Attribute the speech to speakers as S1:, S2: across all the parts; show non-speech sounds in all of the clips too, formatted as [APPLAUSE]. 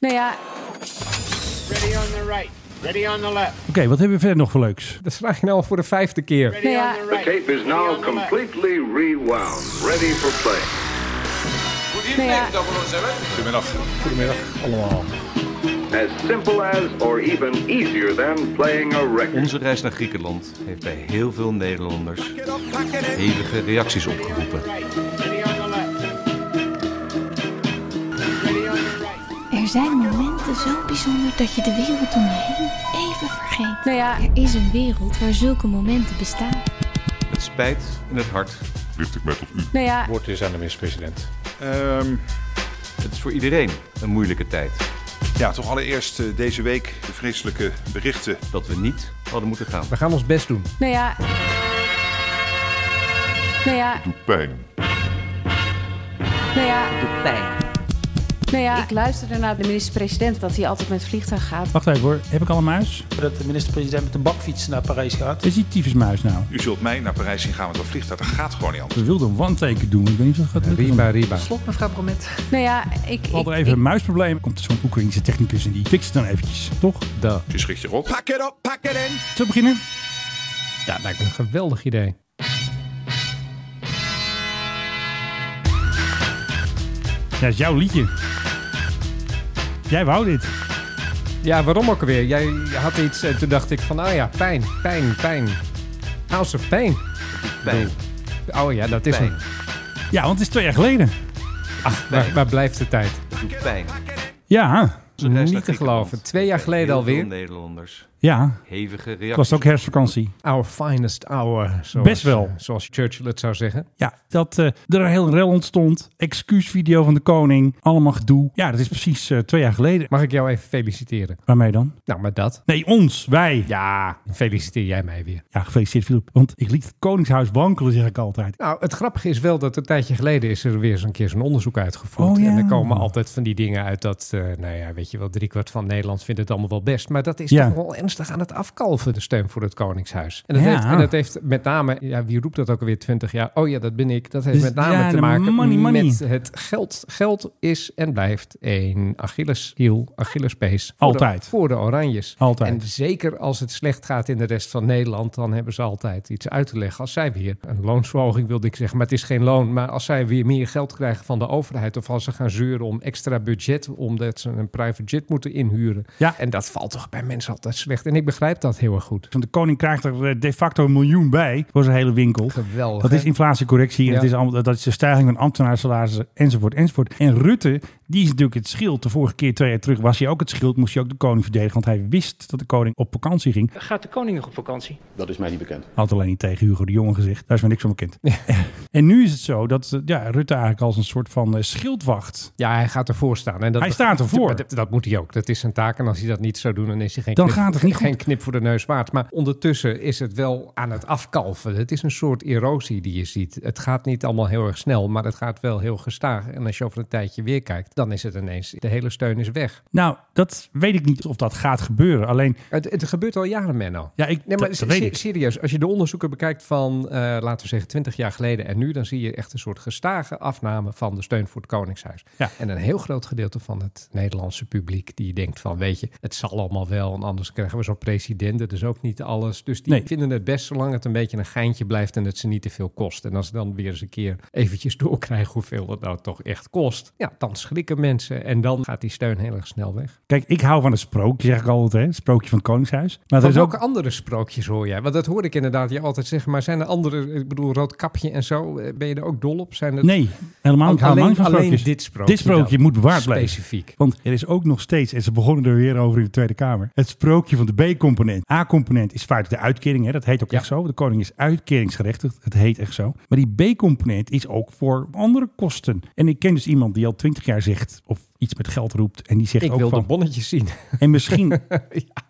S1: Nou ja,
S2: Ready on the right. Ready on the left.
S3: wat hebben we verder nog voor leuks?
S4: Dat vraag je nou al voor de vijfde keer.
S2: Ready
S1: Ja.
S2: on the
S5: The
S2: right.
S5: tape is
S2: Ready
S5: now
S2: on the left.
S5: completely rewound, ready for play.
S1: nou ja,
S5: As simple as or even easier than playing a record.
S6: Onze reis naar Griekenland heeft bij heel veel Nederlanders hevige reacties opgeroepen.
S2: Right. Ready on the left. Ready on the right.
S7: Er zijn momenten zo bijzonder dat je de wereld om je heen even vergeet.
S1: nou ja,
S7: Er is een wereld waar zulke momenten bestaan.
S6: Het spijt in het hart.
S1: nou ja,
S4: Wordt dus aan de minister-president.
S8: Ehm,
S6: Het is voor iedereen een moeilijke tijd.
S8: ja, toch allereerst eh, deze week de vreselijke berichten.
S6: Dat we niet hadden moeten gaan.
S4: We gaan ons best doen.
S1: nou ja. Nou ja. Doet pijn. Nou ja. Doet pijn. Nou ja, ik luisterde naar de minister-president dat hij altijd met vliegtuig gaat.
S3: Wacht even hoor, heb ik al een muis?
S9: Dat de minister-president met een bakfiets naar Parijs gaat.
S3: Is die tyfusmuis nou?
S8: U zult mij naar Parijs zien gaan met dat vliegtuig. Dat gaat gewoon niet anders.
S3: We wilden een one-taker doen, maar ik weet niet of dat gaat lukken.
S4: Riba, Riba.
S1: Nou ja, ik...
S3: We hadden
S1: ik-
S3: even een muisprobleem. Komt zo'n Oekraïnse technicus en die fixt het dan eventjes, toch?
S4: Da.
S8: Dus Je schrikt je rot.
S3: Zullen we beginnen?
S4: Ja, lijkt me een geweldig idee.
S3: Ja, dat is jouw liedje. Jij wou dit.
S4: Ja, waarom ook alweer? Jij had iets en toen dacht ik van, ah ja, pijn, pijn, pijn. House of Pain.
S6: Pijn.
S4: Oh ja, dat is
S6: Pijn.
S4: hem.
S3: Ja, want het is twee jaar geleden.
S4: Ach, waar, waar blijft de tijd?
S6: Het doet pijn.
S3: Ja,
S6: Onze reis naar
S4: Niet te
S6: Griekenland
S4: geloven. Twee jaar geleden
S6: heel
S4: alweer.
S6: Veel Nederlanders
S3: ja.
S6: hevige
S3: Het
S6: reacties.
S3: was ook herfstvakantie.
S4: Our finest hour. Zoals, eh,
S3: Best wel.
S4: Zoals Churchill het zou zeggen.
S3: Ja, dat eh, er een heel rel ontstond. Excuusvideo van de koning. Allemaal gedoe. Ja, dat is precies eh, twee jaar geleden.
S4: Mag ik jou even feliciteren?
S3: Waarmee dan?
S4: Nou, maar dat.
S3: Nee, ons. Wij.
S4: Ja, feliciteer jij mij weer.
S3: Ja, gefeliciteerd Filip. Want ik liet het Koningshuis wankelen, zeg ik altijd.
S4: Nou, het grappige is wel dat een tijdje geleden is er weer eens een keer zo'n onderzoek uitgevoerd.
S3: Oh, ja.
S4: En er komen altijd van die dingen uit dat, eh, nou ja, weet je wel, driekwart van Nederland vindt het allemaal wel best. Maar dat is
S3: Ja.
S4: toch wel ernstig aan het afkalven, de stem voor het Koningshuis. En dat,
S3: Ja.
S4: heeft, en dat heeft met name, ja, wie roept dat ook alweer, twintig jaar? Oh ja, dat ben ik. Dat heeft
S3: Dus
S4: met name
S3: ja,
S4: te
S3: de
S4: maken
S3: money, money.
S4: met het geld. Geld is en blijft een Achilleshiel, Achillespees. Voor de-
S3: Altijd.
S4: Voor de Oranjes.
S3: Altijd.
S4: En zeker als het slecht gaat in de rest van Nederland, dan hebben ze altijd iets uit te leggen. Als zij weer een loonsverhoging wilde ik zeggen, maar het is geen loon. Maar als zij weer meer geld krijgen van de overheid, of als ze gaan zeuren om extra budget, omdat ze een private jet moeten inhuren.
S3: Ja.
S4: En dat valt toch bij mensen altijd slecht. En ik begrijp dat heel erg goed.
S3: Want de koning krijgt er eh, de facto een miljoen bij voor zijn hele winkel.
S4: Geweldig.
S3: Dat
S4: hè?
S3: is inflatiecorrectie, en
S4: Ja.
S3: het is allemaal, dat is de stijging van ambtenaarsalarissen enzovoort enzovoort. En Rutte, die is natuurlijk het schild. De vorige keer, twee jaar terug, was hij ook het schild, moest hij ook de koning verdedigen. Want hij wist dat de koning op vakantie ging.
S9: Gaat de koning nog op vakantie?
S3: Had alleen niet tegen Hugo de Jonge gezegd. Daar is me niks van bekend. [LAUGHS] en nu is het zo dat eh, ja, Rutte eigenlijk als een soort van eh, schildwacht.
S4: Ja, hij gaat ervoor staan. En dat
S3: Hij staat ervoor.
S4: Dat, dat moet hij ook. Dat is zijn taak. En als hij dat niet zou doen, dan is hij geen,
S3: Dan
S4: knip,
S3: gaat het niet
S4: geen
S3: goed.
S4: knip voor de neus waard. Maar ondertussen is het wel aan het afkalven. Het is een soort erosie die je ziet. Het gaat niet allemaal heel erg snel, maar het gaat wel heel gestaag. En als je over een tijdje weer kijkt, dan is het ineens... De hele steun is weg.
S3: Nou, dat weet ik niet of dat gaat gebeuren. Alleen,
S4: Het, het gebeurt al jaren, Menno.
S3: ja, ik,
S4: Nee, maar
S3: dat,
S4: se-
S3: dat weet
S4: se-
S3: ik.
S4: serieus, als je de onderzoeken bekijkt van, eh, laten we zeggen, 20 jaar geleden en nu, dan zie je echt een soort gestage afname van de steun voor het Koningshuis.
S3: Ja.
S4: En een heel groot gedeelte van het Nederlandse publiek die denkt van, weet je, het zal allemaal wel en anders krijgen we zo'n president, dat is ook niet alles. Dus die
S3: Nee.
S4: vinden het best zolang het een beetje een geintje blijft en het ze niet te veel kost. En als ze dan weer eens een keer eventjes doorkrijgen hoeveel het nou toch echt kost, ja, dan schrikken mensen en dan gaat die steun heel erg snel weg.
S3: Kijk, ik hou van een sprookje, zeg ik altijd. Hè? Sprookje van het Koningshuis. Maar er
S4: Van
S3: is
S4: welke
S3: ook...
S4: andere sprookjes hoor jij? Want dat hoor ik inderdaad je altijd zeggen. Maar zijn er andere, ik bedoel, Roodkapje en zo, eh, ben je er ook dol op? Zijn er
S3: Nee, helemaal niet. Ik hou helemaal
S4: alleen,
S3: niet van
S4: alleen
S3: sprookjes.
S4: dit sprookje?
S3: Dit sprookje
S4: dan?
S3: moet bewaard blijven.
S4: Specifiek.
S3: Want er is ook nog steeds, en ze begonnen er weer over in de Tweede Kamer, het sprookje van de B-component. A-component is vaak de uitkering, hè? dat heet ook
S4: Ja.
S3: echt zo. De koning is uitkeringsgerechtigd, het heet echt zo. Maar die B-component is ook voor andere kosten. En ik ken dus iemand die al twintig jaar zegt, of iets met geld roept, en die zegt
S4: Ik
S3: ook
S4: wil
S3: van...
S4: de bonnetjes zien.
S3: En misschien,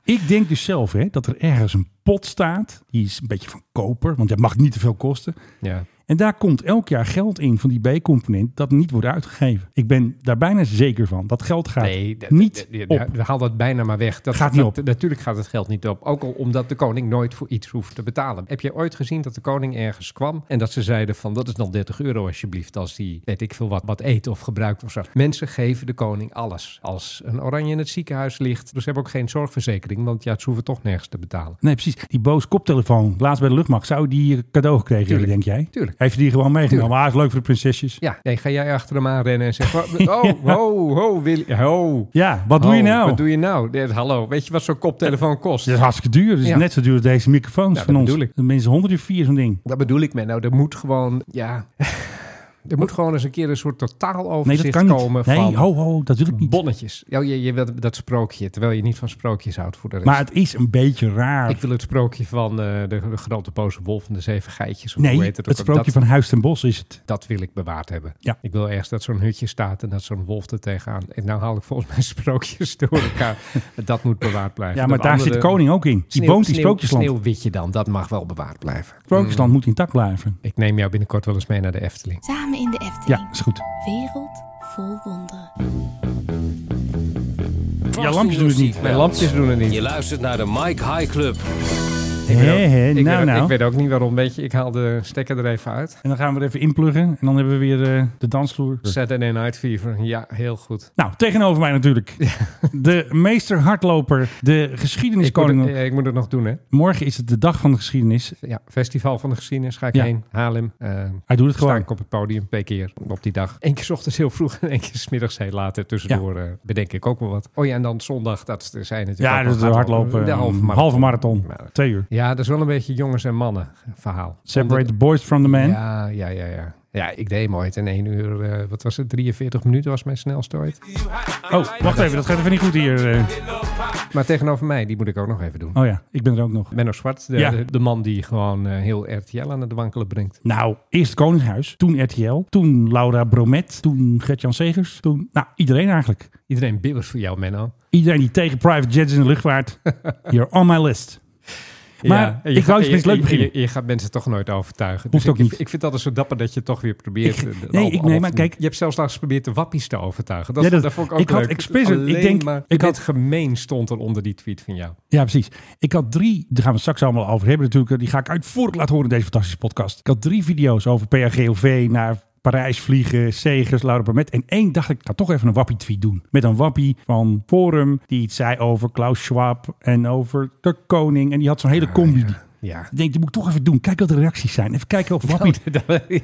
S3: ik denk dus zelf hè, dat er ergens een pot staat, die is een beetje van koper, want dat mag niet te veel kosten.
S4: [LAUGHS] Ja.
S3: En daar komt elk jaar geld in van die B-component dat niet wordt uitgegeven. Ik ben daar bijna zeker van. Dat geld gaat
S4: dat-
S3: niet
S4: dat- dat-
S3: op.
S4: dat- haal dat bijna maar weg. Dat
S3: Gaat niet
S4: dat-
S3: op.
S4: Natuurlijk gaat het geld niet op. Ook al omdat de koning nooit voor iets hoeft te betalen. Heb je ooit gezien dat de koning ergens kwam en dat ze zeiden van dat is dan 30 euro alsjeblieft als die weet ik veel wat, wat eet of gebruikt of zo. Mensen geven de koning alles. Als een oranje in het ziekenhuis ligt, dus ze hebben ook geen zorgverzekering, want ja, ze hoeven toch nergens te betalen.
S3: Nee, precies. Die boos koptelefoon, laatst bij de luchtmacht, zou die eh, cadeau gekregen
S4: Tuurlijk.
S3: hebben, denk jij?
S4: Tuurlijk.
S3: Heeft hij die gewoon meegenomen?
S4: Tuurlijk.
S3: Maar ah, is leuk voor de prinsesjes.
S4: Ja, nee, ga jij achter hem aan rennen en zeggen:
S3: [LAUGHS]
S4: Oh, ho, ho, Willy. Ho.
S3: Ja, wat doe
S4: Ho,
S3: je nou?
S4: Wat doe je nou? Dit- Hallo, weet je wat zo'n koptelefoon kost?
S3: Dat is hartstikke duur. Dat is
S4: Ja.
S3: net zo duur als deze microfoons
S4: Ja,
S3: van
S4: dat
S3: ons.
S4: bedoel ik.
S3: Mensen honderd uur vier zo'n ding.
S4: Dat bedoel ik mee. Nou, er moet gewoon, ja. Er moet gewoon eens een keer een soort totaal
S3: Nee, dat
S4: overzicht
S3: kan
S4: komen
S3: niet. Nee,
S4: van
S3: ho, ho, dat wil ik niet.
S4: bonnetjes. Oh, je, je wilt dat sprookje, terwijl je niet van sprookjes houdt voor de rest.
S3: Maar het is een beetje raar.
S4: ik wil het sprookje van eh, de, de grote boze wolf en de zeven geitjes. Of
S3: nee,
S4: hoe heet
S3: het,
S4: het, ook.
S3: sprookje
S4: dat,
S3: van Huis ten Bos is het.
S4: Dat wil ik bewaard hebben.
S3: Ja.
S4: Ik wil ergens dat zo'n hutje staat en dat zo'n wolf er tegenaan. En nou haal ik volgens mij [LAUGHS] sprookjes door elkaar. dat moet bewaard blijven.
S3: Ja, maar
S4: Dat
S3: daar
S4: andere-
S3: zit de koning ook in. Die
S4: Sneeuw-
S3: woont in
S4: sneeuw- Hmm.
S3: Sprookjesland.
S4: Sneeuwwitje dan, dat mag wel bewaard blijven.
S3: Sprookjesland moet intact blijven.
S4: Ik neem jou binnenkort wel eens mee naar de Efteling.
S7: Samen in de Efteling.
S3: Ja, is goed.
S7: Wereld vol wonderen.
S3: Ja, lampjes doen het niet.
S4: Mijn lampjes doen er niet.
S10: Je luistert naar de Mike High Club.
S3: Hé, hé, nou,
S4: ik, weet, ook- ik
S3: nou.
S4: weet ook niet waarom, weet je. Ik haal de stekker er even uit.
S3: En dan gaan we er even inpluggen. En dan hebben we weer eh, de dansvloer.
S4: Saturday Night Fever, ja, heel goed.
S3: Nou, tegenover mij natuurlijk. De meester hardloper, de
S4: Ik moet,
S3: geschiedeniskoning.
S4: het, eh, ik moet het nog doen, hè.
S3: Morgen is het de dag van de geschiedenis.
S4: Ja, Festival van de Geschiedenis ga ik
S3: Ja.
S4: heen. Haarlem. eh
S3: Hij doet het
S4: sta
S3: gewoon.
S4: ik op het podium twee keer op die dag. Eén keer 's ochtends heel vroeg en één keer 's middags heel later. Tussendoor eh, bedenk ik ook wel wat. Oh ja, en dan zondag, dat zijn natuurlijk
S3: Ja,
S4: ook
S3: dat is de
S4: nog
S3: hardlopen.
S4: dus eh,
S3: mm,
S4: De halve marathon.
S3: Halve marathon.
S4: Maar-
S3: Twee uur.
S4: Ja, dat is wel een beetje jongens en mannen verhaal.
S3: Separate the boys from the men.
S4: Ja, ja, ja, ja. Ja, ik deed hem ooit in 1 uur, eh, wat was het, 43 minuten was mijn snelste ooit.
S3: Oh, wacht even. Dat gaat even niet goed hier. eh.
S4: Maar tegenover mij, die moet ik ook nog even doen.
S3: Oh ja, ik ben er ook nog.
S4: Menno Zwart, de,
S3: Ja.
S4: de, de man die gewoon eh, heel RTL aan het wankelen brengt.
S3: Nou, eerst het Koningshuis, toen RTL, toen Laura Bromet, toen Gert-Jan Segers, toen... Nou, iedereen eigenlijk.
S4: Iedereen bibbert voor jou, Menno.
S3: Iedereen die tegen private jets in de
S4: [LAUGHS]
S3: luchtvaart. You're on my list. Maar
S4: en
S3: ik wou eens
S4: en
S3: met iets leuks
S4: en je,
S3: beginnen.
S4: je gaat mensen toch nooit overtuigen. Dus
S3: Hoeft
S4: ik,
S3: ook niet.
S4: Ik, ik vind het altijd zo dapper dat je toch weer probeert.
S3: Ik-
S4: eh, de-
S3: nee,
S4: al-
S3: ik-
S4: al-
S3: nee, maar kijk-
S4: Je hebt zelfs laatst geprobeerd de wappies te overtuigen. Dat,
S3: Ja, dat-
S4: dat vond ik ook
S3: ik had
S4: leuk.
S3: expres een- ik
S4: Alleen
S3: denk-
S4: maar,
S3: ik
S4: ik had
S3: had-
S4: gemeen stond er onder die tweet van
S3: [LAUGHS]
S4: jou.
S3: Ja, precies. Ik had drie, daar gaan we het straks allemaal over hebben natuurlijk. Die ga ik uitvoerig laten horen in deze fantastische podcast. Ik had drie video's over PHGOV naar Parijs vliegen, Segers, Laura Bromet. En één dacht ik, ik ga toch even een wappie tweet doen. Met een wappie van Forum die iets zei over Klaus Schwab en over de koning. En die had zo'n hele combi.
S4: Ah, Ja.
S3: Ik denk, dat moet ik toch even doen. Kijk wat de reacties zijn. Even kijken
S4: [LAUGHS]
S3: of Wappie...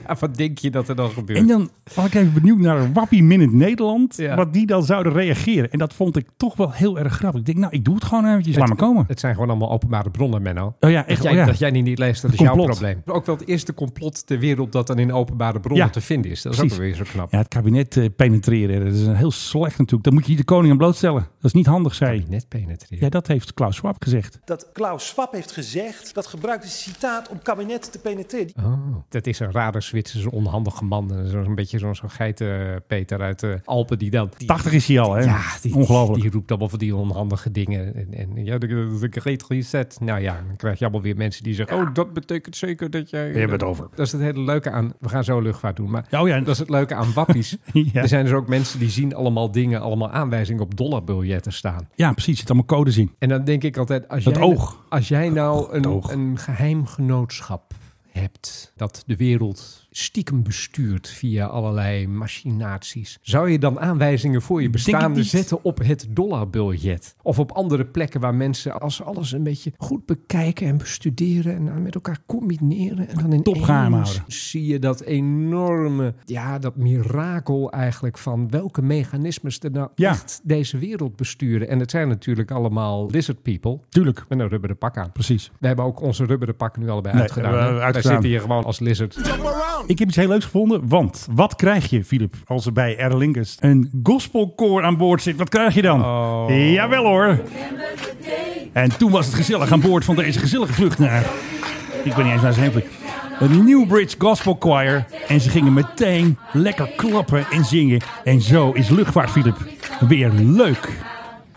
S4: ja, wat denk je dat er dan gebeurt?
S3: En dan was ik even benieuwd naar Wappie Minute Nederland.
S4: Ja.
S3: Wat die dan zouden reageren. En dat vond ik toch wel heel erg grappig. Ik denk, nou, ik doe het gewoon eventjes. Laat maar komen.
S4: Het zijn gewoon allemaal openbare bronnen, Menno.
S3: Oh ja, echt.
S4: Dat jij,
S3: oh ja.
S4: dat jij die niet leest, dat is
S3: Het
S4: jouw
S3: complot.
S4: probleem. Ook wel het eerste complot ter wereld dat dan in openbare bronnen
S3: Ja,
S4: te vinden is. Dat is
S3: precies.
S4: ook weer zo knap.
S3: Ja, het kabinet eh, penetreren. Dat is een heel slecht natuurlijk. Dan moet je niet de koning aan blootstellen. Dat is niet handig, zei hij.
S4: Net penetreren.
S3: Ja, dat heeft Klaus Schwab gezegd.
S11: dat Klaus Schwab heeft gezegd dat gebruikt is citaat om kabinetten te penetreren.
S4: Oh. Dat is een rare Zwitserse onhandige man. Dat is een beetje zo'n zo'n geitenpeter uit de Alpen die dan... die-
S3: 80 is hij al, hè?
S4: ja, die,
S3: Ongelooflijk.
S4: Die roept allemaal van die onhandige dingen. En, en ja, de, de great reset. Nou ja, dan krijg je allemaal weer mensen die zeggen... Oh, dat betekent zeker dat jij...
S3: Je hebt het over.
S4: Dat is het hele leuke aan... We gaan zo luchtvaart doen, maar...
S3: Ja, oh ja,
S4: Dat is het leuke aan [LAUGHS] wappies.
S3: Ja.
S4: Er zijn dus ook mensen die zien allemaal dingen, allemaal aanwijzingen op dollarbiljetten staan.
S3: ja, precies. Er zitten allemaal codes in.
S4: En dan denk ik altijd, als,
S3: Het
S4: jij,
S3: oog.
S4: als jij nou een,
S3: oog.
S4: een geheim genootschap hebt dat de wereld stiekem bestuurt via allerlei machinaties, zou je dan aanwijzingen voor je
S3: het
S4: bestaande
S3: niet.
S4: zetten op het dollarbiljet? Of op andere plekken waar mensen als ze alles een beetje goed bekijken en bestuderen en dan met elkaar combineren en dan in
S3: Topgeheim houden.
S4: zie je dat enorme, ja, dat mirakel eigenlijk van welke mechanismes er nou
S3: Ja.
S4: echt deze wereld besturen. En het zijn natuurlijk allemaal lizard people
S3: Tuurlijk.
S4: met een rubberen pak aan.
S3: Precies.
S4: We hebben ook onze rubberen pakken nu allebei
S3: Nee,
S4: uitgedaan.
S3: we
S4: hè?
S3: hebben
S4: Wij
S3: uitgedaan.
S4: zitten hier gewoon als lizard.
S3: Ik heb iets heel leuks gevonden. Want wat krijg je, Filip, als er bij Aer Lingus een gospelkoor aan boord zit? Wat krijg je dan? Jawel hoor. En toen was het gezellig aan boord van deze gezellige vlucht naar... Ik ben niet eens naar zijn vlucht. De Newbridge Gospel Choir. En ze gingen meteen lekker klappen en zingen. En zo is luchtvaart, Filip, weer leuk.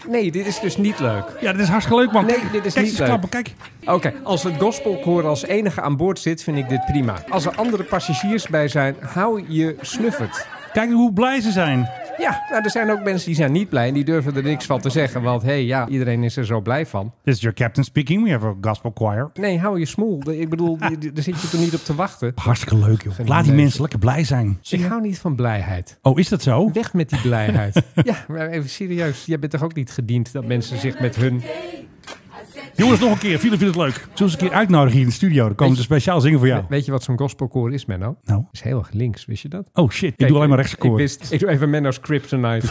S4: Nee, dit is dus niet leuk.
S3: Ja, dit is hartstikke leuk, man.
S4: Nee,
S3: Kijk,
S4: dit is
S3: kijk eens
S4: niet leuk.
S3: klappen, kijk.
S4: Oké, als het gospelkoor als enige aan boord zit, vind ik dit prima. Als er andere passagiers bij zijn, hou je snuffert.
S3: Kijk hoe blij ze zijn.
S4: Ja, nou, er zijn ook mensen die zijn niet blij en die durven er niks van te zeggen. Want hé, hey, ja, iedereen is er zo blij van.
S3: This is your captain speaking. We have a gospel choir.
S4: Nee, hou je smoel. Ik bedoel, d- d- daar zit je toch niet op te wachten?
S3: Hartstikke leuk, joh.
S4: Vind ik
S3: Laat die
S4: leuk.
S3: mensen lekker blij zijn.
S4: Ik hou niet van blijheid.
S3: Oh, is dat zo?
S4: Weg met die
S3: [LAUGHS]
S4: blijheid. ja, maar even serieus. Jij bent toch ook niet gediend dat mensen zich met hun...
S3: Jongens, nog een keer. Vielen vinden het leuk. Zullen we eens een keer uitnodigen hier in de studio? Dan komen ze speciaal zingen voor jou.
S4: Weet je wat zo'n gospelkoor is, Menno?
S3: Nou.
S4: Is heel erg links, wist je dat?
S3: Oh shit, ik
S4: Kijk,
S3: doe alleen maar rechtse
S4: Ik,
S3: koor.
S4: wist, ik doe even Menno's Kryptonite.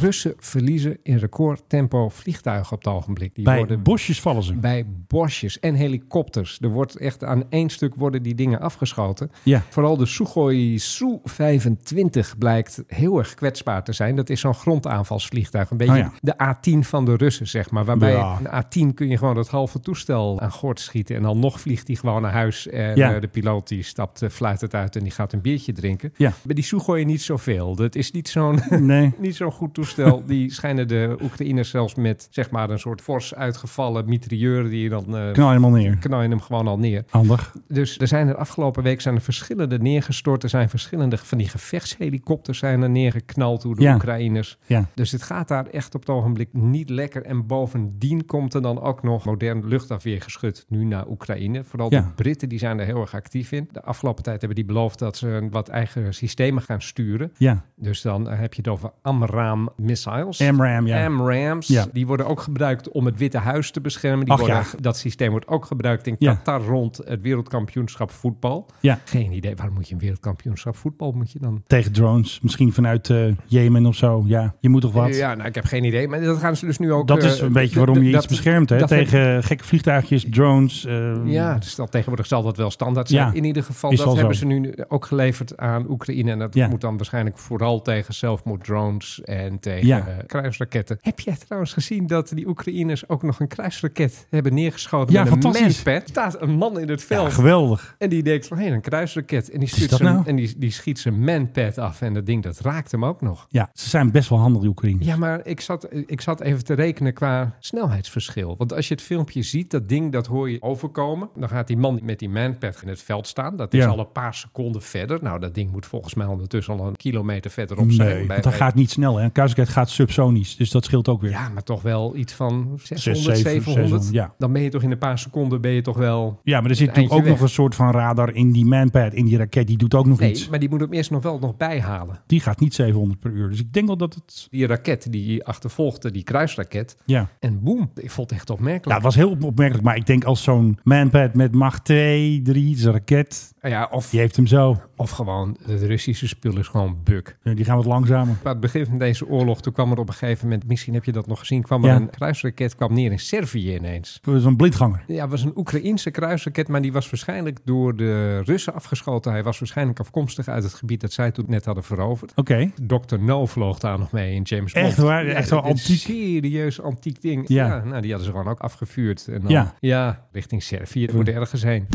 S4: Russen verliezen in recordtempo vliegtuigen op het ogenblik. Die
S3: Bij
S4: worden
S3: bosjes vallen ze.
S4: bij bosjes en helikopters. Er wordt echt aan één stuk worden die dingen afgeschoten.
S3: Ja.
S4: Vooral de Sukhoi Su-25 blijkt heel erg kwetsbaar te zijn. Dat is zo'n grondaanvalsvliegtuig. Een beetje
S3: Oh ja.
S4: de A10 van de Russen, zeg maar. Waarbij
S3: Ja.
S4: een A10 kun je gewoon dat halve toestel aan gort schieten. En dan nog vliegt hij gewoon naar huis. En
S3: Ja.
S4: eh, de piloot die stapt, eh, fluit het uit en die gaat een biertje drinken.
S3: Ja.
S4: Bij die Sukhoi niet zoveel. Dat is niet zo'n...
S3: [LAUGHS] Nee.
S4: Niet zo'n
S3: [LAUGHS]
S4: goed toestel. Die schijnen de Oekraïners zelfs met zeg maar een soort fors uitgevallen mitrieur die je dan eh,
S3: Knal helemaal neer.
S4: knal je hem gewoon al neer.
S3: Handig.
S4: Dus er zijn er afgelopen week zijn er verschillende neergestort. Er zijn verschillende van die gevechtshelikopters zijn er neergeknald door de
S3: Ja.
S4: Oekraïners.
S3: Ja.
S4: Dus het gaat daar echt op het ogenblik niet lekker. En bovendien komt er dan ook nog modern luchtafweergeschut nu naar Oekraïne. Vooral
S3: Ja.
S4: de Britten die zijn er heel erg actief in. De afgelopen tijd hebben die beloofd dat ze een wat eigen systemen gaan sturen.
S3: Ja.
S4: Dus dan heb je het over AMRAAM missiles.
S3: AMRAAM, ja.
S4: AMRAAMs.
S3: Ja.
S4: Die worden ook gebruikt om het Witte Huis te beschermen. Die
S3: Ach,
S4: worden,
S3: ja.
S4: Dat systeem wordt ook gebruikt in
S3: Ja.
S4: Qatar rond het wereldkampioenschap voetbal.
S3: Ja.
S4: Geen idee. Waarom moet je een wereldkampioenschap voetbal? Moet je dan...
S3: Tegen drones. Misschien vanuit eh, Jemen of zo. Ja, je moet toch wat?
S4: Ja, nou, ik heb geen idee. Maar dat gaan ze dus nu ook...
S3: Dat is
S4: eh,
S3: een beetje
S4: d-
S3: waarom je
S4: d-
S3: iets
S4: dat-
S3: beschermt. Hè?
S4: dat-
S3: Tegen gekke vliegtuigjes, drones. eh,
S4: Ja, dus dat tegenwoordig zal dat wel standaard zijn.
S3: Ja,
S4: in ieder geval,
S3: is
S4: dat
S3: wel zo.
S4: hebben ze nu ook geleverd aan Oekraïne. En dat
S3: Ja.
S4: moet dan waarschijnlijk vooral tegen zelfmoorddrones en tegen
S3: Ja.
S4: eh, kruisraketten. Heb jij trouwens gezien dat die Oekraïners ook nog een kruisraket hebben neergeschoten
S3: Ja,
S4: met een
S3: fantastisch.
S4: manpad? Er staat een man in het
S3: ja,
S4: veld
S3: geweldig.
S4: en die denkt van, hé, een kruisraket. En die, stuurt
S3: dat
S4: zijn,
S3: nou?
S4: en die, die schiet zijn manpad af en dat ding, dat raakt hem ook nog.
S3: Ja, ze zijn best wel handig, die Oekraïne.
S4: Ja, maar ik zat, ik zat even te rekenen qua snelheidsverschil. Want als je het filmpje ziet, dat ding, dat hoor je overkomen. Dan gaat die man met die manpad in het veld staan. Dat is
S3: Ja.
S4: al een paar seconden verder. Nou, dat ding moet volgens mij ondertussen al een kilometer verderop zijn.
S3: nee,
S4: Bij-
S3: want dat
S4: bij-
S3: gaat niet snel. Hè? Een kruisraket gaat subsonisch. Dus dat scheelt ook weer.
S4: Ja, maar toch wel iets van 600,
S3: zeven,
S4: 700.
S3: 600, ja.
S4: Dan ben je toch in een paar seconden ben je toch wel...
S3: Ja, maar er zit
S4: Een
S3: natuurlijk ook
S4: eindje
S3: nog een soort van radar in die manpad, in die raket. Die doet ook nog
S4: Nee,
S3: iets.
S4: maar die moet hem eerst nog wel nog bijhalen.
S3: Die gaat niet 700 per uur. Dus ik denk wel dat het...
S4: Die raket die achtervolgde, die kruisraket.
S3: Ja.
S4: En boem, ik vond het echt
S3: Ja,
S4: opmerkelijk.
S3: het was heel opmerkelijk. Maar ik denk als zo'n manpad met macht 2, 3, zijn raket,
S4: Ah ja, of,
S3: die heeft hem zo.
S4: of gewoon, het Russische spul is gewoon buk.
S3: Ja, Die gaan wat langzamer.
S4: Bij het begin van deze oorlog, toen kwam er op een gegeven moment, misschien heb je dat nog gezien, kwam er
S3: Ja.
S4: een kruisraket kwam neer in Servië ineens.
S3: Zo'n blindganger.
S4: Ja, het was een Oekraïense kruisraket, maar die was waarschijnlijk door de Russen afgeschoten. Hij was waarschijnlijk afkomstig uit het gebied dat zij toen net hadden veroverd.
S3: Oké.
S4: Dr. No vloog daar nog mee in James Bond.
S3: Echt waar? Echt zo'n
S4: een
S3: antiek-
S4: serieus antiek ding. Ja.
S3: Ja.
S4: nou, die hadden ze gewoon ook afgevuurd. En dan, ja.
S3: Ja.
S4: richting Servië. Het wordt ergens heen.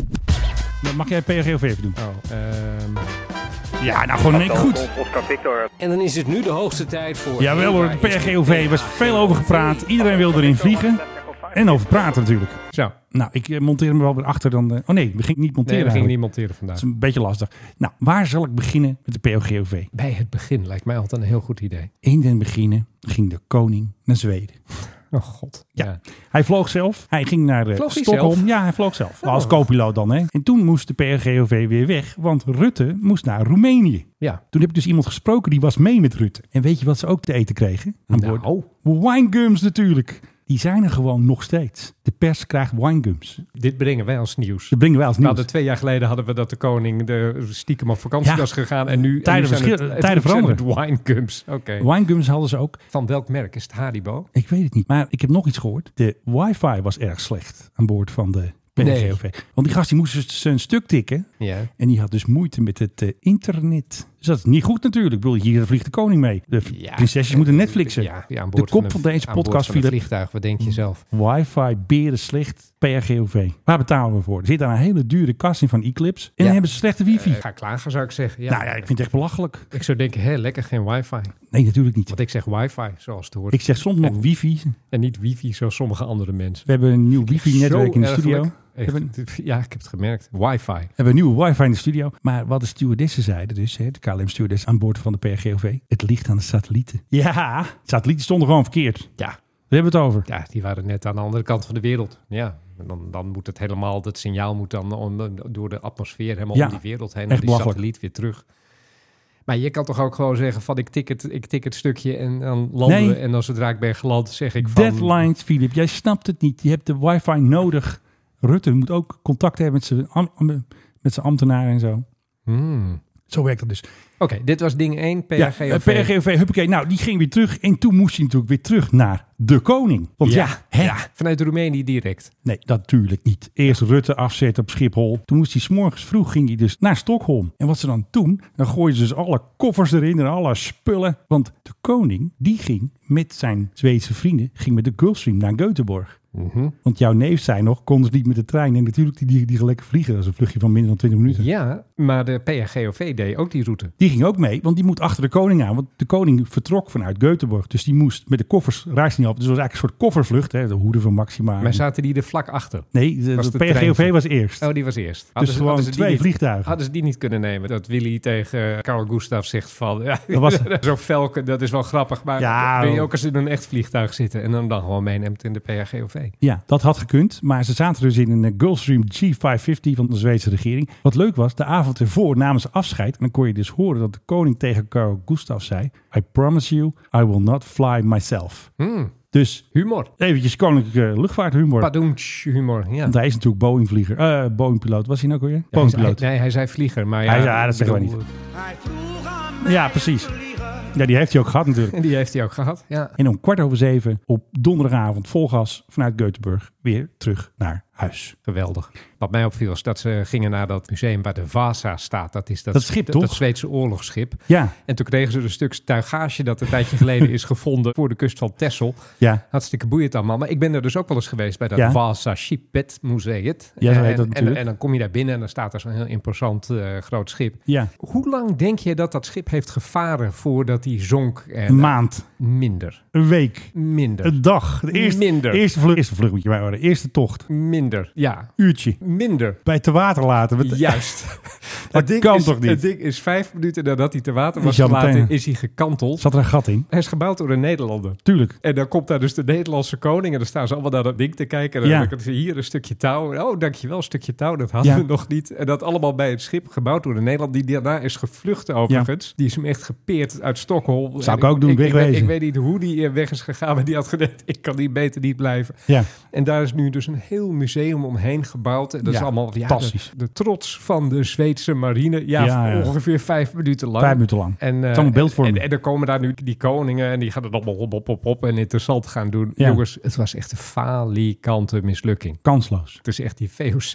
S3: Mag jij PRGOV even doen?
S4: Oh, ehm,
S3: Ja, nou gewoon in één keer goed.
S5: Oscar Victor.
S10: En dan is het nu de hoogste tijd voor...
S3: Jawel hoor, de PRGOV was veel over gepraat. Iedereen wil erin vliegen. En over praten natuurlijk.
S4: Zo,
S3: Nou, ik eh, monteer hem wel weer achter dan... eh, oh nee, we gingen niet monteren
S4: nee, we
S3: eigenlijk.
S4: gingen niet monteren vandaag.
S3: Dat is een beetje lastig. Nou, waar zal ik beginnen met de POGOV?
S4: Bij het begin lijkt mij altijd een heel goed idee.
S3: In den beginnen ging de koning naar Zweden.
S4: Oh god.
S3: Ja. Hij vloog zelf. Hij ging naar eh,
S4: Vloog hij
S3: Stockholm.
S4: zelf?
S3: Ja, hij vloog zelf.
S4: Oh.
S3: Als co-piloot dan, hè. En toen moest de PRGOV weer weg, want Rutte moest naar Roemenië.
S4: Ja.
S3: Toen heb ik dus iemand gesproken die was mee met Rutte. En weet je wat ze ook te eten kregen? Aan
S4: Nou.
S3: boord? Winegums natuurlijk. Die zijn er gewoon nog steeds. De pers krijgt winegums.
S4: Dit brengen wij als nieuws.
S3: Ze brengen wel als
S4: We
S3: nieuws.
S4: hadden twee jaar geleden hadden we dat de koning de stiekem op vakantie
S3: Ja.
S4: was gegaan. En nu,
S3: Tijden
S4: en nu zijn
S3: verschillen-
S4: het-
S3: tijden
S4: nu zijn het
S3: veranderen.
S4: Winegums. Oké.
S3: Winegums hadden ze ook.
S4: Van welk merk is het Haribo?
S3: Ik weet het niet. Maar ik heb nog iets gehoord. De wifi was erg slecht aan boord van de PRGOV. Want die gast die moest dus zijn stuk tikken.
S4: Ja.
S3: En die had dus moeite met het eh, internet. Dus Dus dat is niet goed natuurlijk. Ik bedoel, hier vliegt de koning mee. De
S4: Ja.
S3: prinsesjes moeten Netflixen.
S4: Ja, ja, aan
S3: de
S4: boord
S3: kop
S4: een-
S3: van deze
S4: aan boord
S3: podcast, Hmm.
S4: van een
S3: Philip.
S4: vliegtuig, wat denk je zelf?
S3: Wifi, beren slecht, PRGOV. Waar betalen we voor? Er zit daar een hele dure kast in van Eclipse. En dan hebben ze slechte wifi.
S4: Ik ga klagen, zou ik zeggen. Eh, Ja.
S3: nou ja, ik vind het echt belachelijk.
S4: Ik zou denken, hé, lekker geen wifi.
S3: Nee, natuurlijk niet.
S4: Want ik zeg wifi, zoals het hoort.
S3: Ik zeg soms nog wifi.
S4: En niet wifi, zoals sommige andere mensen.
S3: We hebben een nieuw wifi-netwerk in de
S4: Zo
S3: studio.
S4: ergelijk.
S3: We hebben,
S4: Echt, Ja, ik heb het gemerkt. Wifi.
S3: we hebben een nieuwe wifi in de studio. Maar wat de stewardessen zeiden, dus hè, de KLM-stewardess aan boord van de PRGOV. Het ligt aan de satellieten. Ja, de satellieten stonden gewoon verkeerd.
S4: Ja,
S3: Daar hebben we het over.
S4: ja, die waren net aan de andere kant van de wereld. Ja, en dan, dan moet het helemaal, dat signaal moet dan om- door de atmosfeer helemaal
S3: Ja,
S4: om die wereld heen.
S3: echt
S4: En die
S3: belachelijk.
S4: satelliet weer terug. Maar je kan toch ook gewoon zeggen van ik tik het, ik tik het stukje en dan landen
S3: Nee.
S4: we. En dan zodra ik ben geland zeg ik van...
S3: Deadlines, Filip. Jij snapt het niet. Je hebt de wifi nodig. Rutte moet ook contact hebben met zijn, am- am- met zijn ambtenaren en zo.
S4: Hmm.
S3: Zo werkt dat dus.
S4: Oké, dit was ding 1,
S3: Ja,
S4: PRGOV.
S3: eh, PRGOV, huppakee. Nou, die ging weer terug. En toen moest hij natuurlijk weer terug naar de koning. Want ja, hè?
S4: ja, vanuit Roemenië direct.
S3: nee, dat natuurlijk niet. Eerst Rutte afzetten op Schiphol. Toen moest hij 's morgens vroeg ging hij dus naar Stockholm. En wat ze dan doen, dan gooien ze dus alle koffers erin en alle spullen. Want de koning, die ging met zijn Zweedse vrienden, ging met de Gulfstream naar Göteborg.
S4: Mhm.
S3: Want jouw neef zei nog, kon ze niet met de trein. En natuurlijk, die, die, die gaan lekker vliegen. Dat is een vluchtje van minder dan 20 minuten.
S4: Ja, maar de PRGOV deed ook die route.
S3: Die ging ook mee, want die moet achter de koning aan. Want de koning vertrok vanuit Göteborg. Dus die moest met de koffers, reis niet op. Dus het was eigenlijk een soort koffervlucht. Hè, de hoede van Maxima.
S4: Maar zaten die er vlak achter?
S3: nee, de,
S4: was
S3: de
S4: de
S3: PRGOV
S4: treintje.
S3: was eerst.
S4: Oh, die was eerst. Hadden
S3: dus
S4: ze-
S3: gewoon
S4: hadden ze die
S3: twee
S4: niet-
S3: vliegtuigen.
S4: Hadden ze die niet kunnen nemen? Dat Willy tegen eh, Carl Gustav zegt van... Ja,
S3: [LAUGHS] Dat was-
S4: zo'n velken, [LAUGHS] dat is wel grappig. Maar
S3: Ja, oh.
S4: wil je
S3: wel.
S4: ook eens in een echt vliegtuig zitten... en hem dan gewoon meeneemt in de PRGOV?
S3: Ja, dat had gekund. Maar ze zaten dus in een eh, Gulfstream G550 van de Zweedse regering. Wat leuk was, de avond ervoor namen ze afscheid. En dan kon je dus horen dat de koning tegen Carl Gustav zei... I promise you, I will not fly myself.
S4: Hmm.
S3: Dus
S4: Humor.
S3: eventjes koninklijke luchtvaarthumor.
S4: Padoentsch humor, ja.
S3: Want hij is natuurlijk Boeing-vlieger. Eh, Boeing-piloot, was hij nou ook weer?
S4: Ja, hij zei-
S3: Boeing-piloot.
S4: nee, hij zei vlieger, maar ja...
S3: Hij zei, ah, dat
S4: ik
S3: zeggen wij
S4: bedoel,
S3: Ja, precies. Ja, die heeft hij ook gehad natuurlijk. [LAUGHS]
S4: En die heeft hij ook gehad, ja.
S3: En om kwart over zeven op donderdagavond vol gas vanuit Göteborg weer terug naar huis.
S4: Geweldig. Wat mij opviel is dat ze gingen naar dat museum waar de Vasa staat. Dat is dat,
S3: Dat schip, toch?
S4: Dat Zweedse oorlogsschip.
S3: Ja,
S4: En toen kregen ze dus een stuk tuigage dat een tijdje geleden is gevonden voor de kust van Texel.
S3: ja.
S4: Hartstikke boeiend allemaal. Maar ik ben er dus ook wel eens geweest bij dat
S3: Ja.
S4: Vasa Shipet Museum.
S3: Ja, zo heet dat
S4: en, en,
S3: natuurlijk.
S4: en dan kom je daar binnen en dan staat er zo'n heel imposant eh, groot schip.
S3: Ja,
S4: Hoe lang denk je dat dat schip heeft gevaren voordat hij zonk? En, eh,
S3: een maand,
S4: Minder.
S3: een week,
S4: Minder.
S3: een dag. De eerste,
S4: Minder.
S3: Eerste vlucht, eerste vlucht moet je mij horen. Eerste tocht,
S4: Minder. Ja.
S3: uurtje.
S4: Minder.
S3: Bij te water laten. Met- [LAUGHS]
S4: Juist.
S3: Dat kan
S4: is,
S3: toch niet?
S4: [LAUGHS] Het ding is vijf minuten nadat hij te water was
S3: Is al
S4: gelaten,
S3: meteen.
S4: is hij gekanteld.
S3: Zat er een gat in?
S4: Hij is gebouwd door een Nederlander.
S3: Tuurlijk.
S4: En dan komt daar dus de Nederlandse koning. En dan staan ze allemaal naar dat ding te kijken. En dan
S3: Ja.
S4: denken ze, hier een stukje touw. Oh, dankjewel, een stukje touw. Dat hadden
S3: Ja.
S4: we nog niet. En dat allemaal bij het schip gebouwd door de Nederland. Die daarna is gevlucht overigens. Die is hem echt gepeerd uit Stockholm.
S3: Zou
S4: En
S3: ik ook doen,
S4: ik, weet,
S3: wegwezen.
S4: ik weet niet hoe die eh, weg is gegaan. Maar die had gedacht, ik kan hier beter niet blijven.
S3: Ja,
S4: En daar is nu dus een heel museum omheen gebouwd. En dat
S3: Ja,
S4: is allemaal ja,
S3: fantastisch.
S4: De, de trots van de Zweedse marine. Ja,
S3: Ja, ja.
S4: ongeveer vijf minuten lang.
S3: vijf minuten lang.
S4: En, eh,
S3: is allemaal beeldvorming.
S4: En, en, er komen daar nu die koningen en die gaan het allemaal op, op, op, op en interessant gaan doen.
S3: Ja.
S4: Jongens, het was echt een falikante mislukking.
S3: Kansloos.
S4: Het is echt die